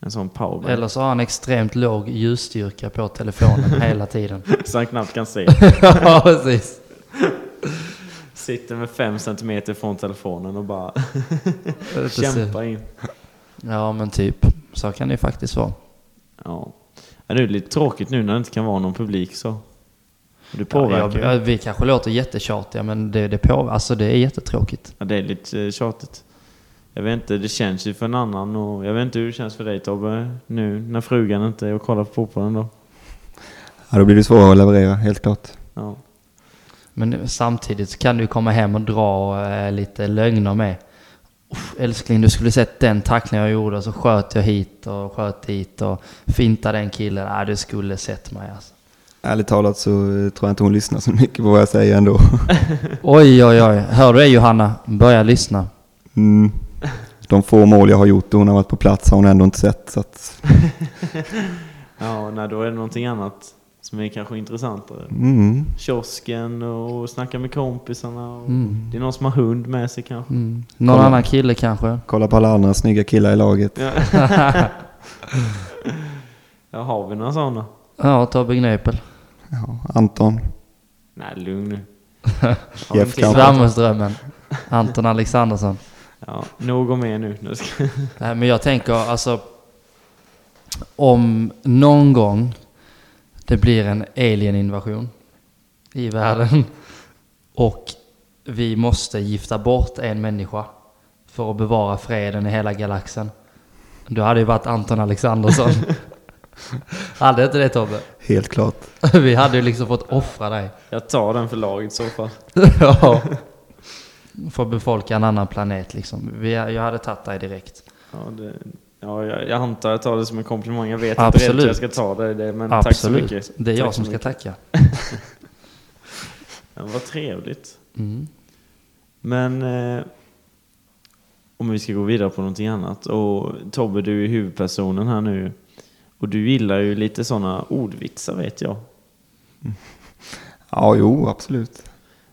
Speaker 2: En sån powerbank.
Speaker 1: Eller så har han extremt låg ljusstyrka på telefonen hela tiden.
Speaker 2: Så han knappt kan se.
Speaker 1: ja, precis.
Speaker 2: Sitter med fem centimeter från telefonen och bara
Speaker 1: Precis.
Speaker 2: kämpar in.
Speaker 1: Ja, men typ. Så kan det ju faktiskt vara.
Speaker 2: Ja. Ja, Det är lite tråkigt nu när det inte kan vara någon publik så. Det
Speaker 1: Ja,
Speaker 2: påverkar.
Speaker 1: jag,
Speaker 2: Ja,
Speaker 1: jag, vi kanske låter jättetjatiga, men det, det, på, alltså, det är jättetråkigt.
Speaker 2: det är lite eh, tjatigt. Jag vet inte, det känns ju för en annan och jag vet inte hur det känns för dig Tobbe nu när frugan inte är och kollar på fotbollen då.
Speaker 3: Ja, då blir det svårare att leverera, helt klart.
Speaker 2: Ja.
Speaker 1: Men samtidigt så kan du komma hem och dra eh, lite lögner med. Uff, älskling, du skulle sett den tackling jag gjorde. Så sköt jag hit och sköt dit och fintade den killen. Nej, du skulle sett mig alltså.
Speaker 3: Ärligt talat så eh, tror jag inte hon lyssnar så mycket på vad jag säger ändå.
Speaker 1: Oj, oj, oj. Hör du det Johanna? Börja lyssna.
Speaker 3: Mm. De få mål jag har gjort och hon har varit på plats har hon ändå inte sett. Så att,
Speaker 2: Ja, nej, då är det någonting annat som är kanske intressantare.
Speaker 3: mm.
Speaker 2: Kiosken och snacka med kompisarna. Och Det är någon som har hund med sig kanske.
Speaker 1: Mm. Någon
Speaker 3: Kolla.
Speaker 1: annan kille kanske?
Speaker 3: Kolla på alla andra snygga killar i laget.
Speaker 2: Ja. ja, har vi några sådana?
Speaker 1: Ja, Tobbe Gnepel.
Speaker 3: Ja, Anton.
Speaker 2: Nej, lugn nu. Har vi en
Speaker 3: Jeff
Speaker 2: till?
Speaker 3: Kamp.
Speaker 1: Framgångsdrömmen. Anton Alexandersson.
Speaker 2: Ja, nog om er nu. nu ska...
Speaker 1: Nej, men jag tänker alltså... Om någon gång det blir en alieninvasion i världen och vi måste gifta bort en människa för att bevara freden i hela galaxen. Då hade det ju varit Anton Alexandersson. hade inte det Tobbe?
Speaker 3: Helt klart.
Speaker 1: Vi hade ju liksom fått offra dig.
Speaker 2: Jag tar den för laget i så fall.
Speaker 1: ja. För att befolka en annan planet liksom. Vi, jag hade tagit dig direkt.
Speaker 2: Ja, det... ja, jag, jag antar jag tar det som en komplimang. Jag vet inte
Speaker 1: Absolut.
Speaker 2: riktigt hur jag ska ta det, det men tack så
Speaker 1: Absolut.
Speaker 2: mycket.
Speaker 1: Det är jag
Speaker 2: Tack så
Speaker 1: som ska
Speaker 2: mycket.
Speaker 1: tacka.
Speaker 2: Ja, vad trevligt.
Speaker 1: Mm.
Speaker 2: Men eh, om vi ska gå vidare på någonting annat. Och Tobbe, du är huvudpersonen här nu. Och du gillar ju lite sådana ordvitsar vet jag.
Speaker 3: Ja, jo, absolut.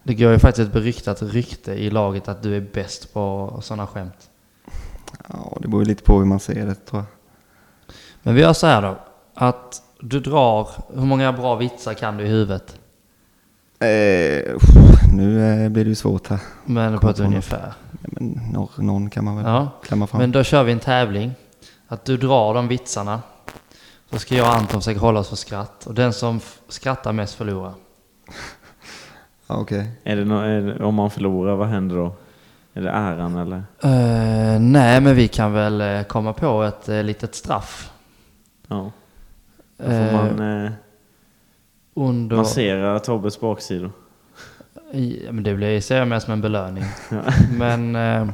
Speaker 1: Det går ju faktiskt ett beryktat rykte i laget att du är bäst på sådana skämt.
Speaker 3: Ja, det beror ju lite på hur man ser det tror jag.
Speaker 1: Men vi gör så här då. Att du drar, hur många bra vitsar kan du i huvudet?
Speaker 3: Eh, nu eh, blir det ju svårt här.
Speaker 1: Men på
Speaker 3: Kom
Speaker 1: ett
Speaker 3: på något.
Speaker 1: ungefär.
Speaker 3: Ja, men någon, någon kan man väl
Speaker 1: Ja.
Speaker 3: klämma fram.
Speaker 1: Men då kör vi en tävling. Att du drar de vitsarna. Så ska jag och Anton försöka hålla oss för skratt. Och den som f- skrattar mest förlorar.
Speaker 3: Ja, Okej.
Speaker 2: Är det nå- är det, om man förlorar, vad händer då? Är det äran eller?
Speaker 1: Eh, nej, men vi kan väl eh, komma på ett uh, litet straff.
Speaker 2: Ja. Då får
Speaker 1: Eh,
Speaker 2: man eh,
Speaker 1: under...
Speaker 2: massera Tobbes baksidor.
Speaker 1: Ja, men det blir, ser jag mer som en belöning.
Speaker 2: Ja.
Speaker 1: Men eh,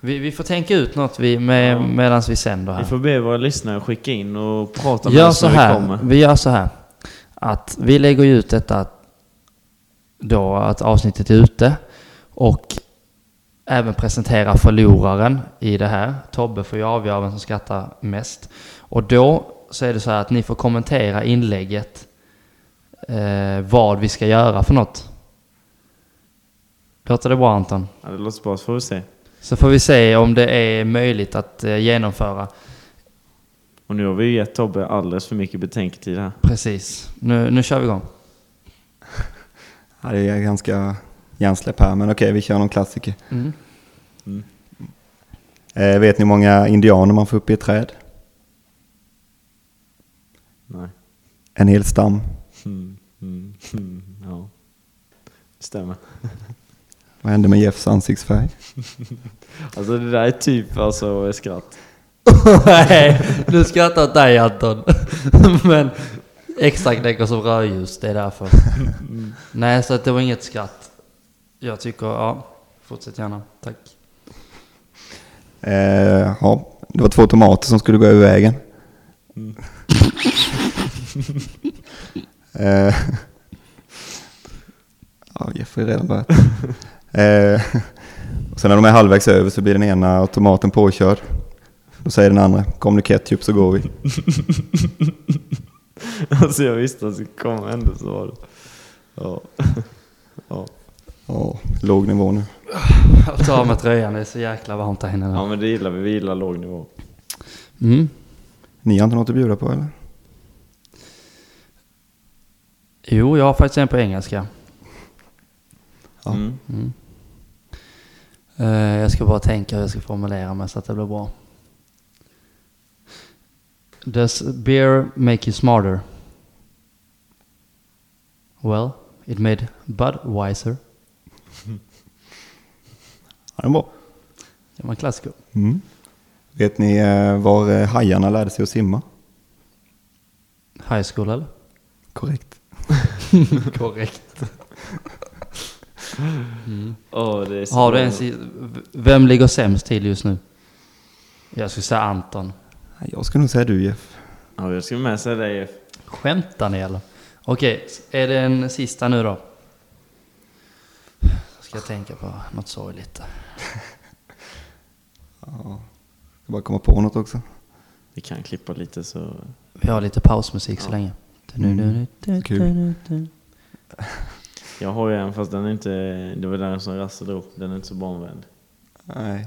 Speaker 1: vi, vi får tänka ut något vi, med,
Speaker 2: Ja.
Speaker 1: medans vi sänder
Speaker 2: Vi
Speaker 1: här.
Speaker 2: får be våra lyssnare skicka in och prata med
Speaker 1: Gör
Speaker 2: oss
Speaker 1: så
Speaker 2: när vi
Speaker 1: här,
Speaker 2: kommer.
Speaker 1: vi gör så här. Att vi lägger ju ut detta att, då att avsnittet är ute. Och även presentera förloraren i det här. Tobbe får ju avgöra vem som skrattar mest. Och då så är det så här att ni får kommentera inlägget. Eh, vad vi ska göra för något. Låter det bra Anton?
Speaker 2: Ja, det låter bra, så får vi se.
Speaker 1: Så får vi se om det är möjligt att eh, genomföra.
Speaker 2: Och nu har vi ju gett Tobbe alldeles för mycket betänketid här.
Speaker 1: Precis. Nu, nu kör vi igång.
Speaker 3: Ja, det är ganska hjärnsläpp här, men okej, vi kör någon klassiker.
Speaker 1: Mm.
Speaker 3: Eh, vet ni hur många indianer man får upp i ett träd?
Speaker 2: Nej.
Speaker 3: En hel stam.
Speaker 2: Mm, mm, mm, ja. Stämmer.
Speaker 3: Vad hände med Jeffs ansiktsfärg?
Speaker 2: Alltså det där är typ alltså skratt.
Speaker 1: Nej, nu skrattar jag åt dig Anton. Men extra knäcker som rödljus, det är därför. Nej, så att det var inget skratt. Jag tycker, ja. Fortsätt gärna. Tack.
Speaker 3: Eh, ja, det var två tomater som skulle gå över vägen. Eh, ja, Jeffrey har redan börjat. Eh, och sen när de är halvvägs över så blir den ena automaten påkörd. Då säger den andra, kom nu ketchup så går vi.
Speaker 2: Alltså jag visste att det skulle komma ändå så var det. Ja. Ja.
Speaker 3: Ja, låg nivå nu.
Speaker 1: Jag tar av mig tröjan, det är så jäkla varmt här inne.
Speaker 2: ja
Speaker 1: nu.
Speaker 2: men det gillar vi, vi gillar låg nivå.
Speaker 1: Mm.
Speaker 3: Ni har inte något att bjuda på eller?
Speaker 1: Jo, jag har faktiskt en på engelska.
Speaker 3: Ja.
Speaker 2: Mm.
Speaker 1: Mm. Eh, jag ska bara tänka hur jag ska formulera mig så att det blir bra. Does beer make you smarter? Well, it made Budweiser.
Speaker 3: Ja, det är bra.
Speaker 1: Det var en klassiker.
Speaker 3: Mm. Vet ni eh, var eh, hajarna lärde sig att simma?
Speaker 1: High school eller?
Speaker 3: Korrekt.
Speaker 1: Korrekt.
Speaker 2: Åh, det är så
Speaker 1: Har du
Speaker 2: bra.
Speaker 1: ens... i- v- Vem ligger sämst till just nu? Jag skulle säga Anton.
Speaker 3: Jag skulle nog säga du Jeff.
Speaker 2: Ja, jag ska med säga dig Jeff.
Speaker 1: Skämtar ni eller? Okej, är det en sista nu då? Ska jag tänka på något sorgligt.
Speaker 3: Jag ska bara komma på något också.
Speaker 2: Vi kan klippa lite så...
Speaker 1: Vi har lite pausmusik så länge.
Speaker 3: Mm, kul.
Speaker 2: Jag har ju en fast den är inte... Det var den som Rasse drog. Den är inte så barnvänlig.
Speaker 3: Nej.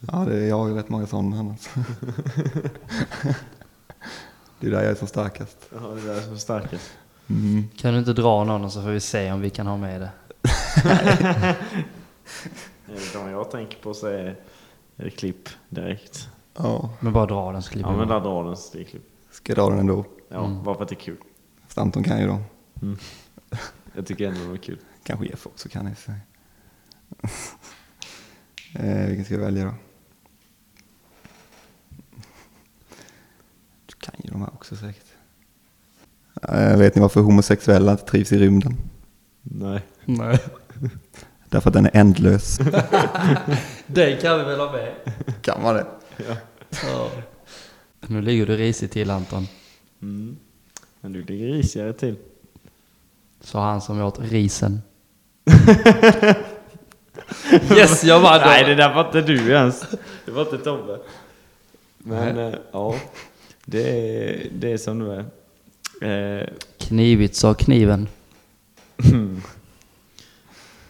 Speaker 3: Ja, det, jag har ju rätt många sådana annars. det är där jag är som starkast.
Speaker 2: Ja, det där är så starkast.
Speaker 3: Mm.
Speaker 1: Kan du inte dra någon så får vi se om vi kan ha med det.
Speaker 2: De jag tänker på så är är klipp direkt.
Speaker 3: Ja,
Speaker 1: Men bara dra den så klipper
Speaker 2: Ja, men
Speaker 1: vi.
Speaker 2: där drar den så det är klipp.
Speaker 3: ska jag dra den ändå.
Speaker 2: Ja, bara för att det är kul.
Speaker 3: Fast Anton kan ju dem.
Speaker 2: Jag tycker ändå det var kul.
Speaker 3: Kanske Jeff också kan i och för sig. eh, vilken ska jag välja då? Du kan ju de här också säkert. Eh, vet ni varför homosexuella inte trivs i rymden?
Speaker 2: Nej.
Speaker 1: Nej.
Speaker 3: Därför att den är ändlös.
Speaker 1: Den kan vi väl ha med?
Speaker 3: kan man det?
Speaker 1: Nu ligger du risigt till Anton.
Speaker 2: Mm. Men du ligger risigare till.
Speaker 1: Sa han som åt risen. yes, jag vann!
Speaker 2: Nej, det där var inte du ens. Det var inte Tobbe. Men eh, ja, det är, det är som du är. Eh,
Speaker 1: Knivigt sa kniven.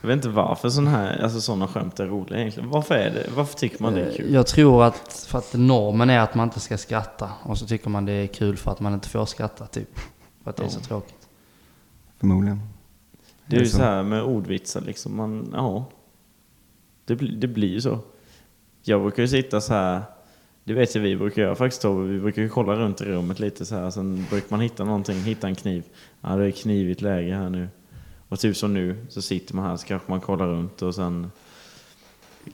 Speaker 2: jag vet inte varför sådana här, alltså såna skämt är roliga egentligen. Varför är det? Varför tycker man det är kul?
Speaker 1: Jag tror att, för att normen är att man inte ska skratta. Och så tycker man det är kul för att man inte får skratta, typ. För att det är så tråkigt.
Speaker 3: Förmodligen.
Speaker 2: Det är
Speaker 1: Liksom.
Speaker 2: ju så här med ordvitsar liksom. Man, ja, det, bli- det blir ju så. Jag brukar ju sitta så här. Det vet ju vi brukar göra faktiskt Tobbe. Vi brukar ju kolla runt i rummet lite så här. Sen brukar man hitta någonting, hitta en kniv. Ja, det är knivigt läge här nu. Och typ som nu så sitter man här så kanske man kollar runt och sen...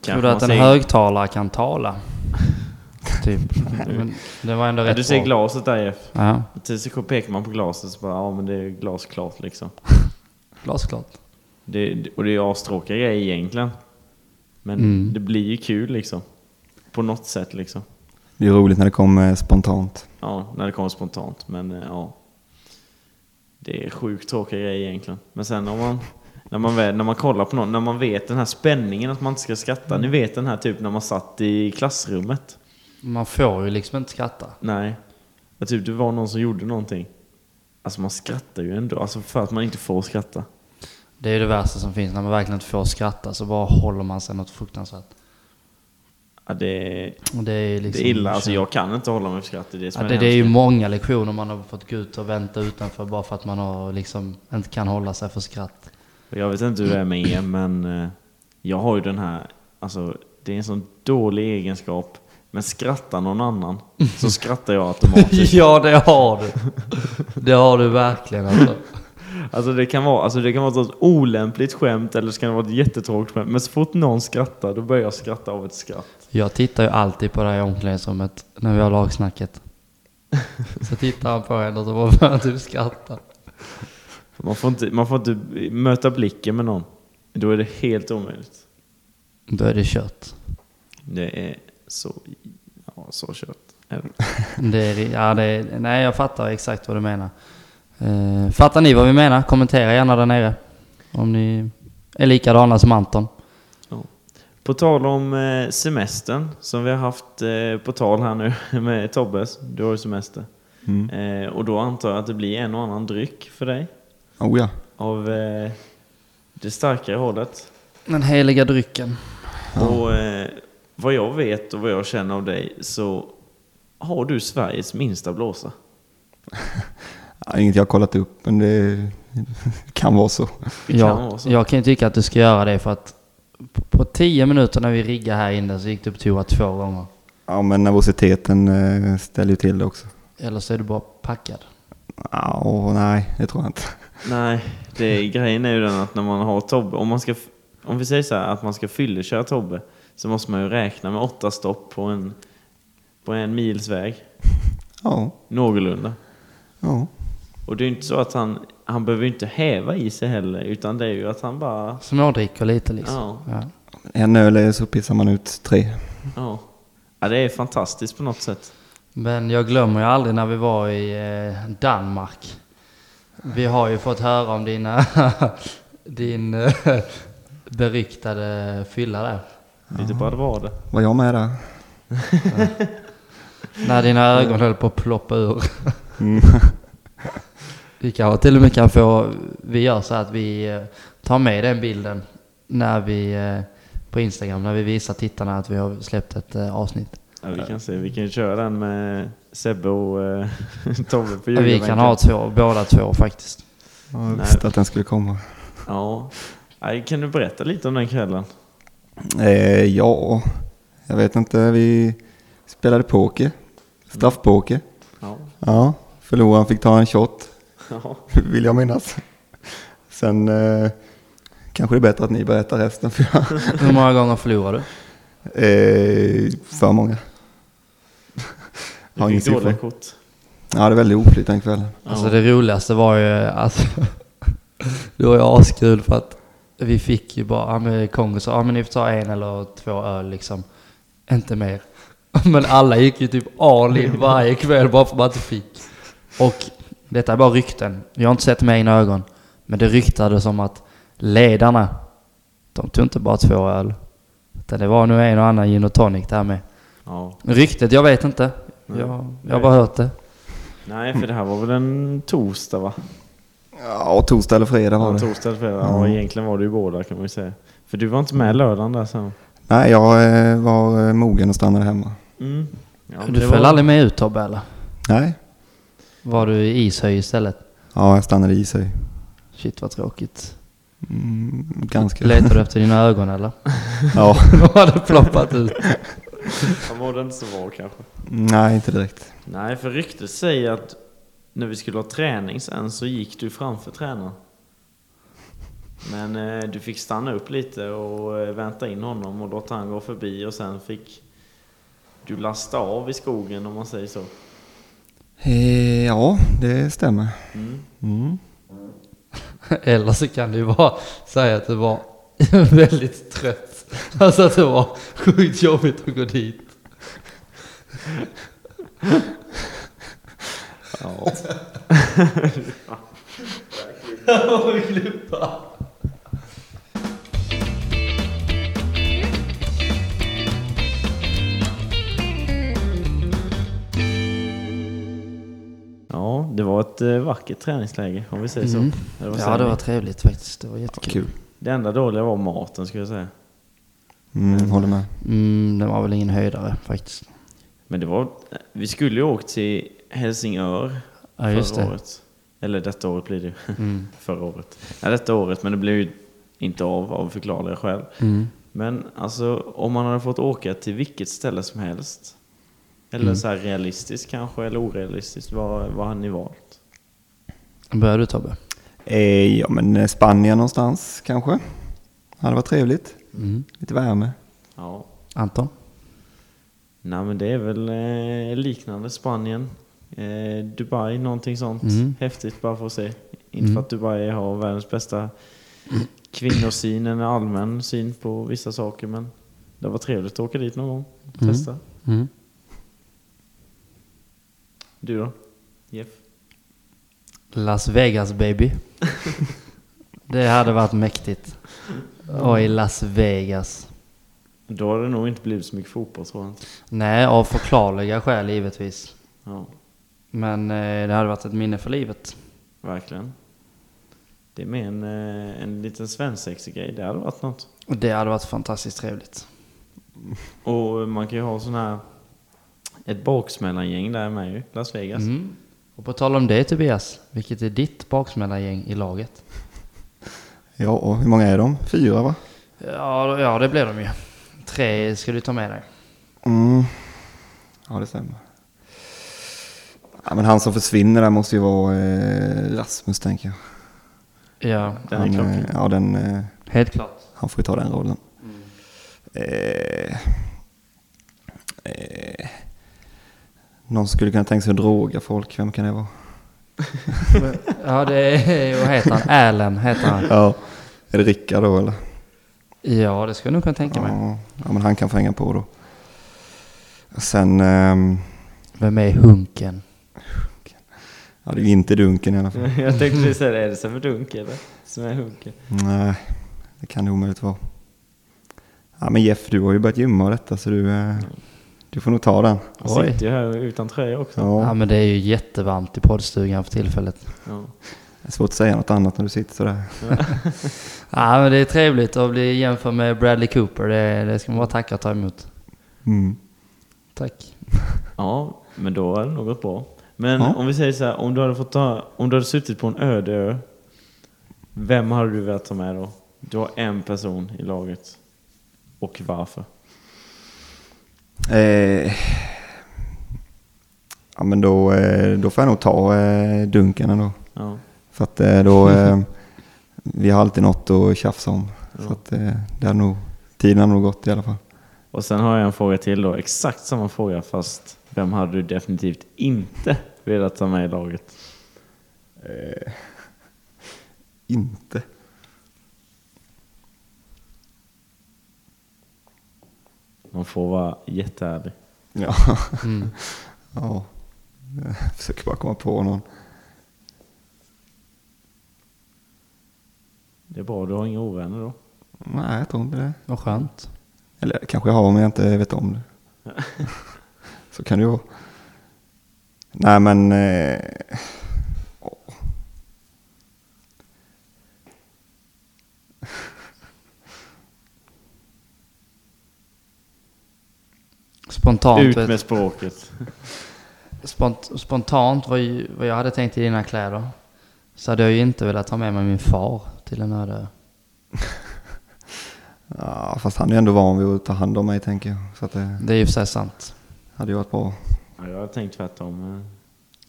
Speaker 1: Tror du
Speaker 2: man
Speaker 1: att en
Speaker 2: ser-
Speaker 1: högtalare kan tala? typ. Men det var ändå
Speaker 2: Ja,
Speaker 1: rätt
Speaker 2: du ser
Speaker 1: bra.
Speaker 2: glaset där Jeff.
Speaker 1: Ja,
Speaker 2: Tills så pekar man på glaset så bara, ja men det är glasklart liksom.
Speaker 1: glasklart.
Speaker 2: Det, och det är ju astråkiga grejer egentligen. Men
Speaker 1: Mm.
Speaker 2: det blir ju kul liksom. På något sätt liksom.
Speaker 3: Det är roligt när det kommer eh, spontant.
Speaker 2: Ja, när det kommer spontant. Men eh, ja. Det är sjukt tråkiga grejer egentligen. Men sen om man, när man, väl, när man kollar på någon, när man vet den här spänningen att man inte ska skratta.
Speaker 1: Mm.
Speaker 2: Ni vet den här typ när man satt i klassrummet.
Speaker 1: Man får ju liksom inte skratta.
Speaker 2: Nej. Ja, typ det var någon som gjorde någonting. Alltså man skrattar ju ändå. Alltså för att man inte får skratta.
Speaker 1: Det är ju det värsta som finns. När man verkligen inte får skratta så bara håller man sig något fruktansvärt.
Speaker 2: Ja, det,
Speaker 1: Och det är
Speaker 2: det
Speaker 1: liksom...
Speaker 2: är illa. Alltså jag kan inte hålla mig för skratt. Det är det som
Speaker 1: Ja,
Speaker 2: är
Speaker 1: det,
Speaker 2: det
Speaker 1: det är ju
Speaker 2: hemska.
Speaker 1: många lektioner man har fått gå ut och vänta utanför bara för att man har liksom inte kan hålla sig för skratt.
Speaker 2: Och Jag vet inte hur det är med er, men eh, jag har ju den här, alltså det är en sån dålig egenskap. Men skrattar någon annan så skrattar jag automatiskt.
Speaker 1: ja, det har du. Det har du verkligen alltså.
Speaker 2: Alltså det kan vara, alltså det kan vara ett olämpligt skämt eller så kan det vara ett jättetråkigt skämt. Men så fort någon skrattar, då börjar jag skratta av ett skratt.
Speaker 1: Jag tittar ju alltid på det här i omklädningsrummet när vi har lagsnacket. Så tittar han på en och så bara börjar han typ skratta.
Speaker 2: Man får, inte, man får inte möta blicken med någon. Då är det helt omöjligt.
Speaker 1: Då är det kött.
Speaker 2: Det är så, ja så kört.
Speaker 1: Det är, ja, det är, nej, jag fattar exakt vad du menar. Eh, fattar ni vad vi menar? Kommentera gärna där nere. Om ni är likadana som Anton.
Speaker 2: På tal om eh, semestern som vi har haft eh, på tal här nu med Tobbes. Du har ju semester.
Speaker 3: Mm.
Speaker 2: Eh, Och då antar jag att det blir en och annan dryck för dig.
Speaker 3: Oh ja.
Speaker 2: Av eh, det starkare hållet.
Speaker 1: Den heliga drycken.
Speaker 2: Och eh, vad jag vet och vad jag känner av dig så har du Sveriges minsta blåsa.
Speaker 3: Ja, Inget jag har kollat upp, men det kan vara så.
Speaker 2: Det kan vara
Speaker 1: Jag,
Speaker 2: så.
Speaker 1: jag kan ju tycka att du ska göra det för att på- på tio minuter när vi riggade här inne så gick du på toa två gånger.
Speaker 3: Ja, men nervositeten eh, ställer ju till det också.
Speaker 1: Eller så är du bara packad.
Speaker 3: Ja, åh, nej, det tror jag inte.
Speaker 2: Nej, det, grejen är ju den att när man har Tobbe, om, man ska, f- om vi säger så här att man ska fylleköra Tobbe så måste man ju räkna med åtta stopp på en, på en mils väg.
Speaker 3: Ja,
Speaker 2: Någorlunda.
Speaker 3: ja.
Speaker 2: Och det är ju inte så att han, han behöver ju inte häva i sig heller utan det är ju att han bara...
Speaker 1: Smådricker lite liksom.
Speaker 2: Ja,
Speaker 1: Ja.
Speaker 3: En öl så pissar man ut tre.
Speaker 2: ja. ja det är fantastiskt på något sätt.
Speaker 1: Men jag glömmer ju aldrig när vi var i eh, Danmark. Vi har ju fått höra om dina, din eh, beryktade fylla där.
Speaker 2: Lite bravader.
Speaker 3: Var jag med där?
Speaker 1: När dina ögon höll på att ploppa ur.
Speaker 3: Mm.
Speaker 1: Vi kan till och med kan få, vi gör så att vi eh, tar med den bilden när vi, eh, på Instagram, när vi visar tittarna att vi har släppt ett eh, avsnitt.
Speaker 2: Ja, vi kan se, vi kan ju köra den med Sebbe och eh, Tobbe på
Speaker 1: Vi kan ha två, båda två faktiskt.
Speaker 3: Jag
Speaker 2: Nej.
Speaker 3: visste att den skulle komma.
Speaker 2: Ja. Nej, Kan du berätta lite om den kvällen?
Speaker 3: Eh, ja, jag vet inte. Vi spelade poker. Straffpoker.
Speaker 2: Ja.
Speaker 3: Ja, förloraren fick ta en shot,
Speaker 2: ja.
Speaker 3: vill jag minnas. Sen eh, kanske det är bättre att ni berättar resten för jag...
Speaker 1: Hur många gånger förlorar du?
Speaker 3: Eh, för många.
Speaker 2: Du fick dåliga kort.
Speaker 3: Ja, det är väldigt oflyt den kvällen.
Speaker 1: Alltså det roligaste var ju alltså, Det var ju askul för att vi fick ju bara, ja men Kongo sa, ja men ni får ta en eller två öl liksom. Inte mer. Men alla gick ju typ all in varje kväll bara för att man inte fick. Och detta är bara rykten. Jag har inte sett med egna ögon. Men det ryktades om att ledarna, de tog inte bara två öl. Utan det var nu en och annan gin och tonic där med.
Speaker 2: Ja.
Speaker 1: Ryktet, jag vet inte. Jag, jag har bara hört det.
Speaker 2: Nej, för det här var väl en torsdag va?
Speaker 3: Ja, och torsdag eller fredag var
Speaker 2: Ja,
Speaker 3: det.
Speaker 2: torsdag eller fredag. Ja, egentligen var det ju båda kan man ju säga. För du var inte med lördagen där sen.
Speaker 3: Nej, jag eh, var eh, mogen och stannade hemma.
Speaker 2: Mm. Ja, men
Speaker 1: Du
Speaker 2: det
Speaker 1: föll
Speaker 2: var-
Speaker 1: aldrig med ut Tobbe eller?
Speaker 3: Nej,
Speaker 1: Var du i Ishöj istället?
Speaker 3: ja, jag stannade i sig.
Speaker 1: Shit vad tråkigt.
Speaker 3: Mm, ganska.
Speaker 1: Letar du efter dina ögon eller?
Speaker 3: Ja,
Speaker 1: De hade ploppat ut.
Speaker 2: Han mådde inte så bra kanske.
Speaker 3: nej, inte direkt.
Speaker 2: Nej, för ryktet säger att när vi skulle ha träning sen så gick du framför tränaren. Men eh, du fick stanna upp lite och eh, vänta in honom och låta han gå förbi och sen fick du lasta av i skogen om man säger så.
Speaker 3: Eh, ja, det stämmer. Mm.
Speaker 1: Eller så kan du ju bara säga att du var väldigt trött. Alltså att det var sjukt jobbigt att gå dit.
Speaker 2: Ja. ja, det var ett eh, vackert träningsläge om vi säger
Speaker 1: Mm.
Speaker 2: så. Eller vad
Speaker 1: Ja
Speaker 2: säger
Speaker 1: det
Speaker 2: ni?
Speaker 1: var trevligt faktiskt. Det var jättekul.
Speaker 3: Kul.
Speaker 2: det enda dåliga var maten skulle jag säga.
Speaker 3: Mm, håller med.
Speaker 1: Mm, det var väl ingen höjdare faktiskt.
Speaker 2: Men det var, eh, vi skulle ju åkt till Helsingör
Speaker 1: Ja just
Speaker 2: förra
Speaker 1: det.
Speaker 2: året. Eller detta året blir det ju.
Speaker 1: Mm.
Speaker 2: förra året. Nej, detta året, men det blev ju inte av av förklarliga skäl.
Speaker 1: Mm.
Speaker 2: Men alltså, om man hade fått åka till vilket ställe som helst. Eller
Speaker 1: Mm.
Speaker 2: så här realistiskt kanske, eller orealistiskt. Vad, vad hade ni valt?
Speaker 1: Börjar du Tobbe?
Speaker 3: Eh, ja, men eh, Spanien någonstans kanske. Ja, det var trevligt.
Speaker 1: Mm.
Speaker 3: Lite värme.
Speaker 2: Ja.
Speaker 1: Anton?
Speaker 2: Nej, men det är väl eh, liknande Spanien. Eh, Dubai, någonting sånt.
Speaker 1: Mm.
Speaker 2: Häftigt bara för att se. Inte för
Speaker 1: Mm.
Speaker 2: att Dubai har världens bästa kvinnosyn, en allmän syn på vissa saker. Men det var trevligt att åka dit någon gång.
Speaker 1: Mm.
Speaker 2: Testa.
Speaker 1: Mm.
Speaker 2: Du då? Jeff?
Speaker 1: Las Vegas baby. det hade varit mäktigt. Och i Las Vegas.
Speaker 2: Då har det nog inte blivit så mycket fotboll tror jag inte.
Speaker 1: Nej, av förklarliga skäl givetvis.
Speaker 2: Ja,
Speaker 1: Men eh, det hade varit ett minne för livet.
Speaker 2: verkligen. Det är med en, eh, en liten svensexig grej, det hade varit något.
Speaker 1: Och det hade varit fantastiskt trevligt.
Speaker 2: Och man kan ju ha sån här... Ett baksmällangäng där med ju, Las Vegas.
Speaker 1: Mm. Och på tal om det Tobias, vilket är ditt baksmällargäng i laget?
Speaker 3: Ja, och hur många är de? Fyra va?
Speaker 1: Ja, ja, det blev de ju. Tre ska du ta med dig.
Speaker 3: Mm. Ja, det stämmer. Ja, men han som försvinner där måste ju vara eh, Rasmus tänker jag.
Speaker 1: Ja,
Speaker 2: Den är
Speaker 3: han,
Speaker 2: klockren.
Speaker 3: eh, ja, den, eh,
Speaker 1: helt klart.
Speaker 3: han får ju ta den rollen. Eh, eh, någon skulle kunna tänka sig att droga folk, vem kan det vara?
Speaker 1: Ja, det är... Vad heter han? Allen heter han.
Speaker 3: Ja, är det Rickard då eller?
Speaker 1: Ja, det skulle jag nog kunna tänka mig.
Speaker 3: Ja, ja, men han kan få hänga på då. Sen, ehm,
Speaker 1: Vem är Hunken?
Speaker 3: ja det är ju inte Dunken i alla fall.
Speaker 2: Jag tänkte precis säga det, är det som är dunk eller? Som är hunken.
Speaker 3: Nej, det kan det omöjligt vara. Ja, men Jeff, du har ju börjat gymma och detta så du, eh, du får nog ta den.
Speaker 2: Han
Speaker 1: Oj.
Speaker 2: sitter ju här utan tröja också.
Speaker 1: Ja.
Speaker 3: Ja,
Speaker 1: men det är ju jättevarmt i poddstugan för tillfället.
Speaker 2: Ja.
Speaker 3: det är svårt att säga något annat när du sitter sådär.
Speaker 1: Ja, men det är trevligt att bli jämförd med Bradley Cooper. Det, det ska man bara tacka och ta emot.
Speaker 3: Mm.
Speaker 1: Tack.
Speaker 2: Ja, men då är det något bra. Men
Speaker 3: Ja.
Speaker 2: om vi säger så här, om du hade fått ta, om du hade suttit på en öde ö, vem hade du velat ta med då? Du har en person i laget. Och varför?
Speaker 3: Eh, ja, men då, eh, då får jag nog ta eh, Dunken ändå.
Speaker 2: Ja,
Speaker 3: För att eh, då, eh, vi har alltid något att tjafsa om. Så
Speaker 2: ja.
Speaker 3: att eh, det har nog, tiden har nog gått i alla fall.
Speaker 2: Och sen har jag en fråga till då. Exakt samma fråga fast vem hade du definitivt inte velat ta med i laget?
Speaker 3: Inte.
Speaker 2: Man får vara jätteärlig.
Speaker 3: Ja.
Speaker 1: Mm.
Speaker 3: ja. Jag försöker bara komma på någon.
Speaker 2: Det är bra, du har inga ovänner då.
Speaker 3: Nej, jag tror inte det.
Speaker 1: Vad skönt.
Speaker 3: Eller kanske jag har om jag inte vet om det. Så kan det ju vara. Nej men... Eh, åh.
Speaker 1: Spontant,
Speaker 2: Ut
Speaker 1: vet-
Speaker 2: med språket.
Speaker 1: spont, spontant vad, ju- vad jag hade tänkt i dina kläder så hade jag ju inte velat ta med mig min far till en öde ö.
Speaker 3: ja, fast han är ju ändå van vid att ta hand om mig tänker jag. Så att eh, det
Speaker 1: Det är ju för sig sant.
Speaker 3: hade ju varit bra.
Speaker 2: Ja, jag har tänkt tvärtom.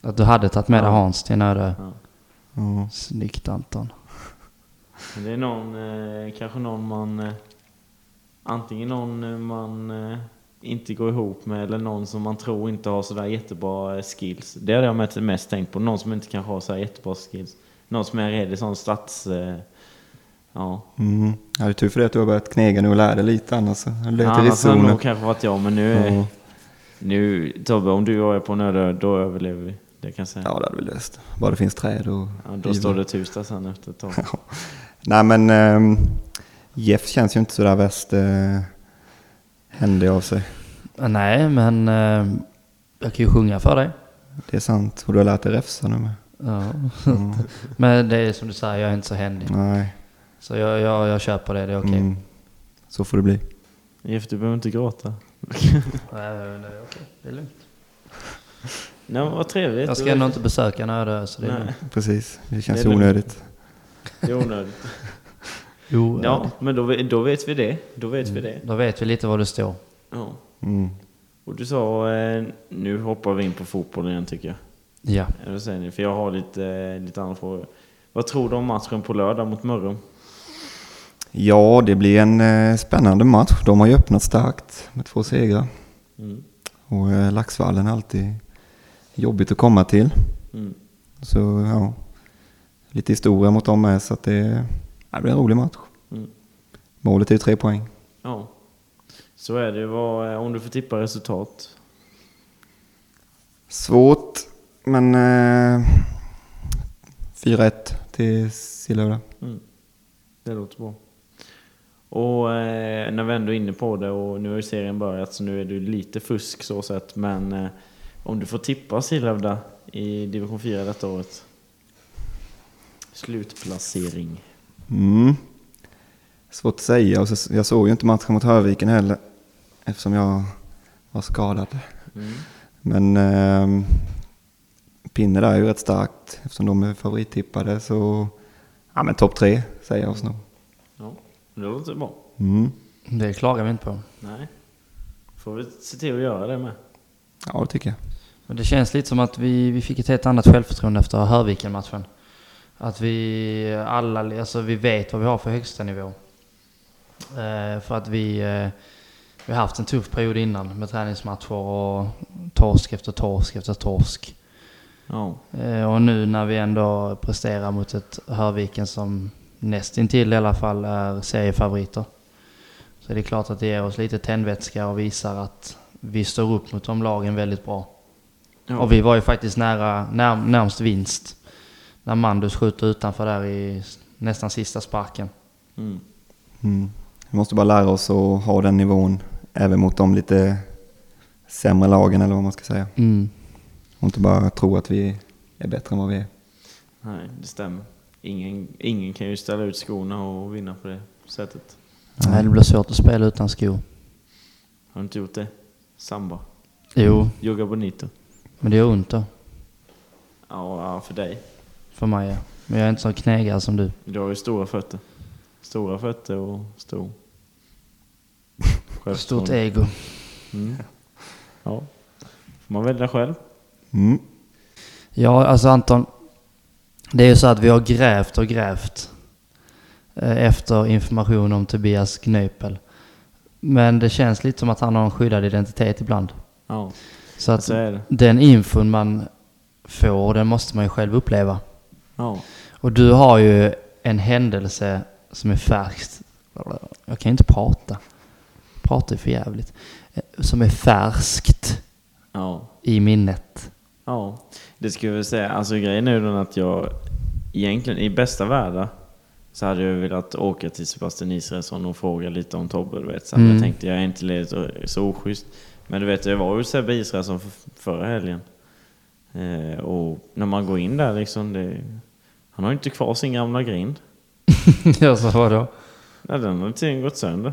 Speaker 2: eh.
Speaker 1: Att du hade tagit med dig Hans till en öde ö.
Speaker 2: Ja.
Speaker 3: Ja.
Speaker 1: Snyggt Anton.
Speaker 2: Men Det är någon, eh, kanske någon man... Eh, antingen någon eh, man eh, inte går ihop med eller någon som man tror inte har sådär jättebra eh, skills. Det hade jag mest, mest tänkt på. Någon som inte kanske har sådär jättebra skills. Någon som är rädd i sån stats... Eh, ja.
Speaker 3: Mm. ja, det är tur för det att du har börjat knega nu och lära dig lite annars. så hade du legat i
Speaker 2: Annars hade det
Speaker 3: riskzonen.
Speaker 2: nog kanske varit jag, men nu...
Speaker 3: Ja.
Speaker 2: Eh, nu Tobbe, om du och jag är på en öde ö, då överlever vi. Det kan jag säga.
Speaker 3: Ja, det hade vi löst. Bara det finns träd och...
Speaker 2: Ja, då står det ett hus där sen efter ett tag.
Speaker 3: Nej men ehm, Jeff känns ju inte sådär värst eh, händig av sig.
Speaker 1: Äh, Nej, men eh, jag kan ju sjunga för dig.
Speaker 3: Det är sant. Och du har lärt dig refsa nu med.
Speaker 1: Ja.
Speaker 3: Mm.
Speaker 1: Men det är som du säger, jag är inte så händig.
Speaker 3: Nej.
Speaker 1: Så jag, jag, jag köper det, det är okej.
Speaker 3: Mm. Så får det bli.
Speaker 2: Jeff, du behöver inte gråta.
Speaker 1: Nej, det är okej. Det är lugnt.
Speaker 2: Nej, men vad trevligt.
Speaker 1: Jag ska ändå inte besöka en öde ö, så det är
Speaker 2: Nej.
Speaker 1: lugnt.
Speaker 3: Precis. Det känns
Speaker 2: Det är lugnt.
Speaker 3: onödigt.
Speaker 2: Det är onödigt.
Speaker 1: Jo,
Speaker 2: Ja, men då, ve- då vet vi det. Då vet vi det.
Speaker 1: Då vet vi lite var du står.
Speaker 2: Mm. Ja.
Speaker 3: Mm.
Speaker 2: Och du sa, eh, nu hoppar vi in på fotbollen igen tycker jag.
Speaker 1: Ja.
Speaker 2: Eller vad säger ni? För jag har lite, eh, lite andra frågor. Vad tror du om matchen på lördag mot Mörrum?
Speaker 3: Ja, det blir en eh, spännande match. De har ju öppnat starkt med två segrar.
Speaker 2: Mm.
Speaker 3: Och eh, Laxvallen är alltid jobbigt att komma till.
Speaker 2: Mm.
Speaker 3: Så ja, lite historia mot dem med. Så att det, ja, det blir en rolig match.
Speaker 2: Mm.
Speaker 3: Målet är ju tre poäng.
Speaker 2: Ja, så är det. Vad, eh, om du får tippa resultat?
Speaker 3: Svårt, men eh, 4-1 till Sillhövda.
Speaker 2: Mm. Det låter bra. Och eh, när vi ändå är inne på det och nu har ju serien börjat så nu är det ju lite fusk så sett men eh, om du får tippa Sillhövda i division 4 detta året? Slutplacering.
Speaker 3: Mm. Svårt att säga. Och så, jag såg ju inte matchen mot Hörviken heller eftersom jag var skadad.
Speaker 2: Mm.
Speaker 3: Men ehm, Pinne där är ju rätt starkt eftersom de är favorittippade så ja men topp tre säger jag oss nog.
Speaker 2: Ja, det låter bra.
Speaker 3: Mm.
Speaker 1: Det klagar vi inte på.
Speaker 2: Nej. Får vi se till att göra det med.
Speaker 3: Ja det tycker jag.
Speaker 1: Men det känns lite som att vi, vi fick ett helt annat självförtroende efter Hörviken-matchen. Att vi alla, alltså vi vet vad vi har för högsta nivå. Eh, för att vi, eh, vi har haft en tuff period innan med träningsmatcher och torsk efter torsk efter torsk.
Speaker 2: Ja.
Speaker 1: Eh, och nu när vi ändå presterar mot ett Hörviken som nästintill i alla fall är seriefavoriter. Så är det klart att det ger oss lite tändvätska och visar att vi står upp mot de lagen väldigt bra.
Speaker 2: ja.
Speaker 1: Och vi var ju faktiskt nära, när, närmst vinst. När Mandus skjuter utanför där i s- nästan sista sparken.
Speaker 2: Mm.
Speaker 3: Mm. Vi måste bara lära oss att ha den nivån även mot de lite sämre lagen eller vad man ska säga.
Speaker 1: Mm.
Speaker 3: Och inte bara tro att vi är bättre än vad vi är.
Speaker 2: Nej, det stämmer. Ingen, ingen kan ju ställa ut skorna och vinna på det sättet.
Speaker 1: Nej, det blir svårt att spela utan skor.
Speaker 2: Har du inte gjort det? Samba.
Speaker 1: Jo,
Speaker 2: Yoga bonito.
Speaker 1: men det gör ont då.
Speaker 2: Ja, ja, för dig.
Speaker 1: För mig ja. Men jag är inte så knegare som du.
Speaker 2: Du har ju stora fötter. Stora fötter och stor...
Speaker 1: Stort
Speaker 2: självförtroende.
Speaker 1: ego.
Speaker 2: Mm. Ja. Får man välja själv?
Speaker 3: Mm.
Speaker 1: Ja, alltså Anton. Det är ju så att vi har grävt och grävt. eh, Efter information om Tobias Knöpel. Men det känns lite som att han har en skyddad identitet ibland.
Speaker 2: Ja,
Speaker 1: Så att
Speaker 2: så är det.
Speaker 1: den infon man får, den måste man ju själv uppleva.
Speaker 2: Ja.
Speaker 1: Och du har ju en händelse som är färskt. Jag kan ju inte prata. Prata är för jävligt. Eh, Som är färskt
Speaker 2: ja.
Speaker 1: i minnet.
Speaker 2: Ja, det skulle jag väl säga. Alltså grejen är ju den att jag egentligen i bästa världar så hade jag velat åka till Sebastian Israelsson och fråga lite om Tobbe. Du vet. Så hade
Speaker 1: Mm.
Speaker 2: Jag tänkte jag är inte lite så- så oschysst. Men du vet, jag var ju Sebbe Israelsson för, förra helgen. Eh, och när man går in där liksom, det, han har ju inte kvar sin gamla grind.
Speaker 1: ja, så vadå?
Speaker 2: Nej, den har tydligen gått sönder.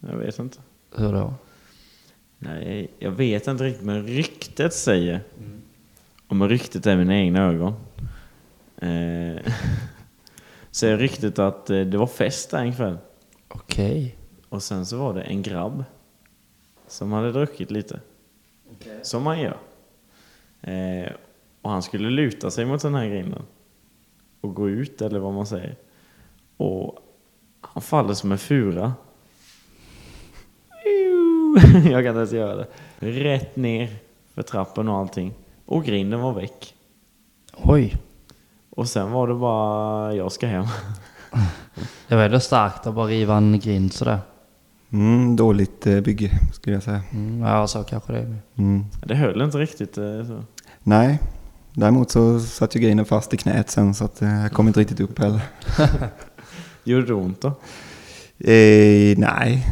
Speaker 2: Jag vet inte.
Speaker 1: Hur då?
Speaker 2: Nej, jag vet inte riktigt, men ryktet säger. Och med ryktet är mina egna ögon. Eh, säger ryktet att eh, det var fest där en kväll.
Speaker 1: Okej.
Speaker 2: Och sen så var det en grabb. Som hade druckit lite. Som man gör. Eh, och han skulle luta sig mot den här grinden. Och gå ut, eller vad man säger. Och han faller som en fura. Jag kan inte ens göra det. Rätt ner för trappen och allting. Och grinden var väck.
Speaker 1: Oj.
Speaker 2: Och sen var det bara, jag ska hem.
Speaker 1: Det var ändå starkt att bara riva en grind sådär.
Speaker 3: Mm, dåligt eh, bygge skulle jag säga.
Speaker 1: Mm, ja, så kanske det är.
Speaker 3: Mm.
Speaker 2: Det höll inte riktigt. eh, Så.
Speaker 3: Nej, däremot så satt ju grejen fast i knät sen så att eh, jag kom inte riktigt upp heller.
Speaker 2: Gjorde det ont då?
Speaker 3: Eh, nej,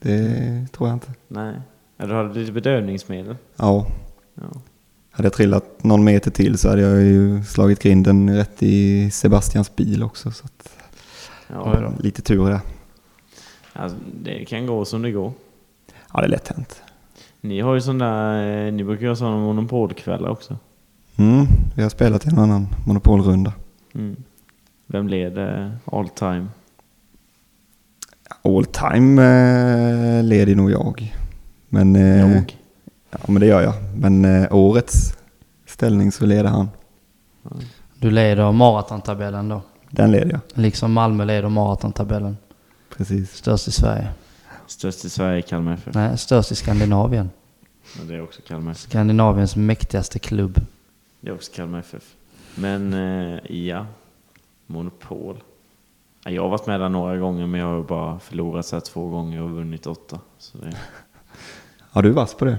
Speaker 3: det tror jag inte.
Speaker 2: Nej. Ja, du hade lite bedövningsmedel?
Speaker 3: Ja,
Speaker 2: Ja.
Speaker 3: hade jag trillat någon meter till så hade jag ju slagit grinden rätt i Sebastians bil också. Så att,
Speaker 1: Oj
Speaker 2: Ja,
Speaker 1: då.
Speaker 3: lite tur där.
Speaker 2: alltså, det kan gå som det går.
Speaker 3: Ja, det är lätt hänt.
Speaker 2: Ni har ju sån där, eh, ni brukar göra sådana monopolkvällar också.
Speaker 3: Mm, vi har spelat en annan monopolrunda.
Speaker 2: Mm. Vem leder all time?
Speaker 3: All time eh, leder nog jag. Men, eh,
Speaker 2: Jag.
Speaker 3: Ja, men det gör jag. Men eh, årets ställning så leder han.
Speaker 1: Du leder maratontabellen då.
Speaker 3: Den leder jag,
Speaker 1: Liksom Malmö leder maratontabellen.
Speaker 3: precis.
Speaker 1: Störst i Sverige.
Speaker 2: Störst i Sverige, Kalmar FF.
Speaker 1: Nej, störst i Skandinavien.
Speaker 2: Men det är också Kalmar FF.
Speaker 1: Skandinaviens mäktigaste klubb.
Speaker 2: Det är också Kalmar FF. Men eh, ja, monopol. Ja, Jag har varit med där några gånger men jag har ju bara förlorat så här två gånger och vunnit åtta. Så det...
Speaker 3: Ja, du är vass på det.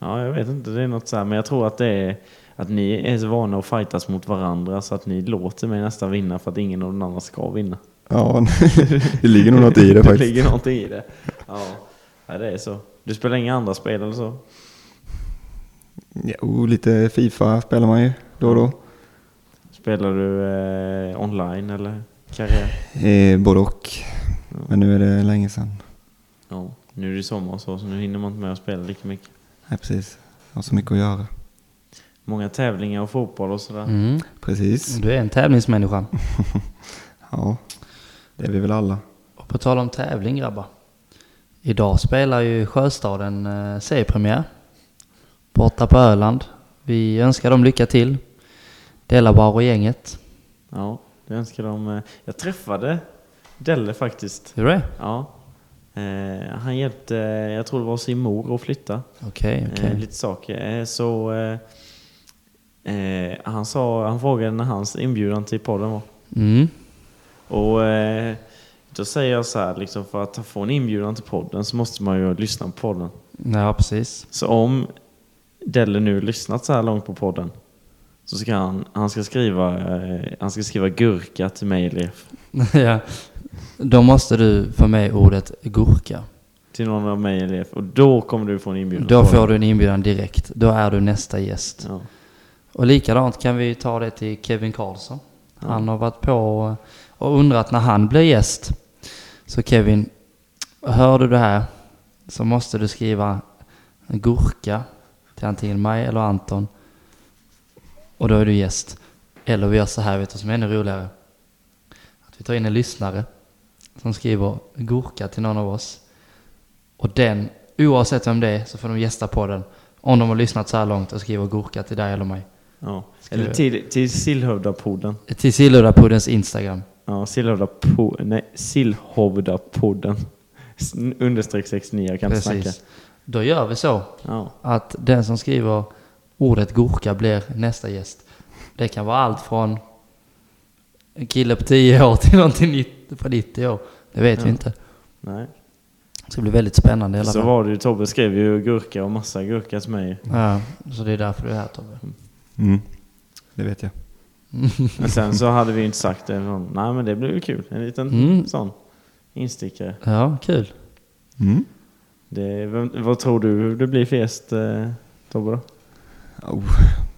Speaker 2: Ja, jag vet inte. Det är något så här, men jag tror att det är... Att ni är så vana att fightas mot varandra så att ni låter mig nästan vinna för att ingen av de andra ska vinna.
Speaker 3: Ja, det ligger nog något i det
Speaker 2: Det
Speaker 3: faktiskt.
Speaker 2: ligger någonting i det. Ja. ja, det är så. Du spelar inga andra spel eller så?
Speaker 3: Jo, oh, lite Fifa spelar man ju då och då.
Speaker 2: Spelar du eh, online eller karriär?
Speaker 3: Eh, både och. Men nu är det länge sedan.
Speaker 2: Ja, nu är det sommar och så, så nu hinner man inte med att spela lika mycket.
Speaker 3: Nej, precis. Jag har så mycket att göra.
Speaker 2: Många tävlingar och fotboll och sådär.
Speaker 1: Mm.
Speaker 3: Precis.
Speaker 1: Du är en tävlingsmänniska.
Speaker 3: Ja, det är vi väl alla.
Speaker 1: Och på tal om tävling grabbar. Idag spelar ju Sjöstaden eh, seriepremiär. Borta på Öland. Vi önskar dem lycka till. Delabar och gänget.
Speaker 2: Ja, det önskar de. eh, Jag träffade Delle faktiskt.
Speaker 1: Hur är det?
Speaker 2: Ja. Eh, han hjälpte, eh, jag tror det var sin mor att flytta.
Speaker 1: Okej,
Speaker 2: Eh,
Speaker 1: okej.
Speaker 2: lite saker. Eh, så eh, eh, han, sa, han frågade när hans inbjudan till podden var.
Speaker 1: Mm.
Speaker 2: Och eh, då säger jag så här, liksom, för att få en inbjudan till podden så måste man ju lyssna på podden.
Speaker 1: Ja, precis.
Speaker 2: Så om Delle nu lyssnat så här långt på podden så ska han, han ska skriva, eh, han ska skriva gurka till mig eller
Speaker 1: ja. Då måste du få med ordet gurka.
Speaker 2: till någon av mig eller och då kommer du få en inbjudan.
Speaker 1: Då
Speaker 2: till
Speaker 1: får
Speaker 2: podden.
Speaker 1: du en inbjudan direkt. Då är du nästa gäst.
Speaker 2: Ja.
Speaker 1: Och likadant kan vi ta det till Kevin Karlsson. Han har varit på och undrat när han blir gäst. Så Kevin, hör du det här så måste du skriva en gurka till antingen mig eller Anton. Och då är du gäst. Eller vi gör så här, vet du vad som är ännu roligare? Att vi tar in en lyssnare som skriver gurka till någon av oss. Och den, oavsett vem det är, så får de gästa på den. Om de har lyssnat så här långt och skriver gurka till dig eller mig.
Speaker 2: Ja.
Speaker 1: Ska
Speaker 2: Eller
Speaker 1: vi-
Speaker 2: till, till Sillhövdapodden.
Speaker 1: Till Sillhödapuddens Instagram.
Speaker 2: Ja, Sillhövdapodden. Nej, Sillhövdapodden. S- Understreck 69, jag kan inte snacka.
Speaker 1: Precis. Då gör vi så
Speaker 2: Ja.
Speaker 1: att den som skriver ordet gurka blir nästa gäst. Det kan vara allt från en kille på 10 år till någonting nytt på 90 år. Det vet vi
Speaker 2: Ja.
Speaker 1: inte.
Speaker 2: Nej.
Speaker 1: Det ska bli väldigt spännande i alla
Speaker 2: Så
Speaker 1: fall.
Speaker 2: var det ju, Tobbe skrev ju gurka och massa gurka till mig.
Speaker 1: Ja, så det är därför du är här Tobbe.
Speaker 3: Mm. Det vet jag.
Speaker 2: Men sen så hade vi ju inte sagt det. men, Nej men det blev ju kul. En liten
Speaker 1: Mm.
Speaker 2: sån instickare.
Speaker 1: Ja, kul.
Speaker 3: Mm.
Speaker 2: Det, vem, vad tror du det blir för gäst eh, Tobbe då?
Speaker 3: Oh,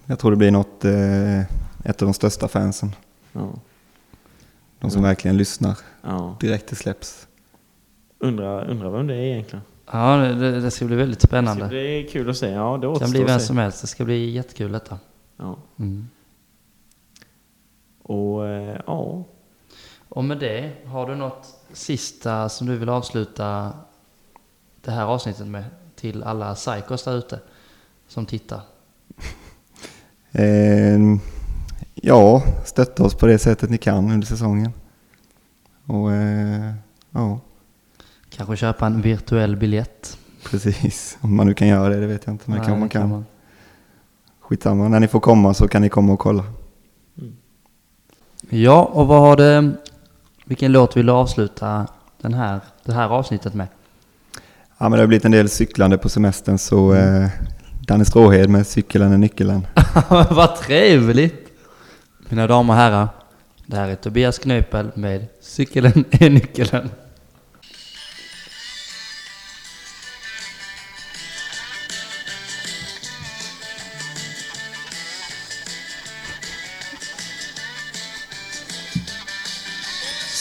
Speaker 3: jag tror det blir något, eh, ett av de största fansen.
Speaker 2: Ja.
Speaker 3: De
Speaker 1: Mm.
Speaker 3: som verkligen lyssnar
Speaker 2: ja.
Speaker 3: direkt det släpps.
Speaker 2: Undrar undra vem det är egentligen.
Speaker 1: Ja, det, det ska bli väldigt
Speaker 2: Så
Speaker 1: spännande.
Speaker 2: det är kul att se. Ja det
Speaker 1: Det
Speaker 2: återstår
Speaker 1: kan bli vem
Speaker 2: att se.
Speaker 1: som helst. Det ska bli jättekul detta.
Speaker 2: Ja.
Speaker 1: Mm.
Speaker 2: Och eh, ja.
Speaker 1: Och med det, har du något sista som du vill avsluta det här avsnittet med till alla psykos där ute som tittar?
Speaker 3: Eh, ja, stötta oss på det sättet ni kan under säsongen. Och eh, ja,
Speaker 1: Kanske köpa en virtuell biljett?
Speaker 3: precis. Om man nu kan göra det, det vet jag inte. Men
Speaker 1: Nej,
Speaker 3: kanske man
Speaker 1: det kan
Speaker 3: kan.
Speaker 1: man.
Speaker 3: Skitsamma, när ni får komma så kan ni komma och kolla.
Speaker 1: Ja, och vad har det... Vilken låt vill du avsluta den här, det här avsnittet med?
Speaker 3: Ja, men det har blivit en del cyklande på semestern så
Speaker 1: Mm.
Speaker 3: eh, Danne Stråhed med Cykeln är nyckeln.
Speaker 1: vad trevligt! Mina damer och herrar, det här är Tobias Knöpel med Cykeln är nyckeln.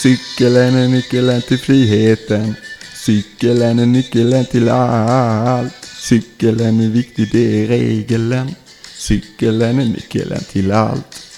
Speaker 3: Cykeln är nyckeln till friheten. Cykeln är nyckeln till allt. Cykeln är viktig, det är regeln. Cykeln är nyckeln till allt.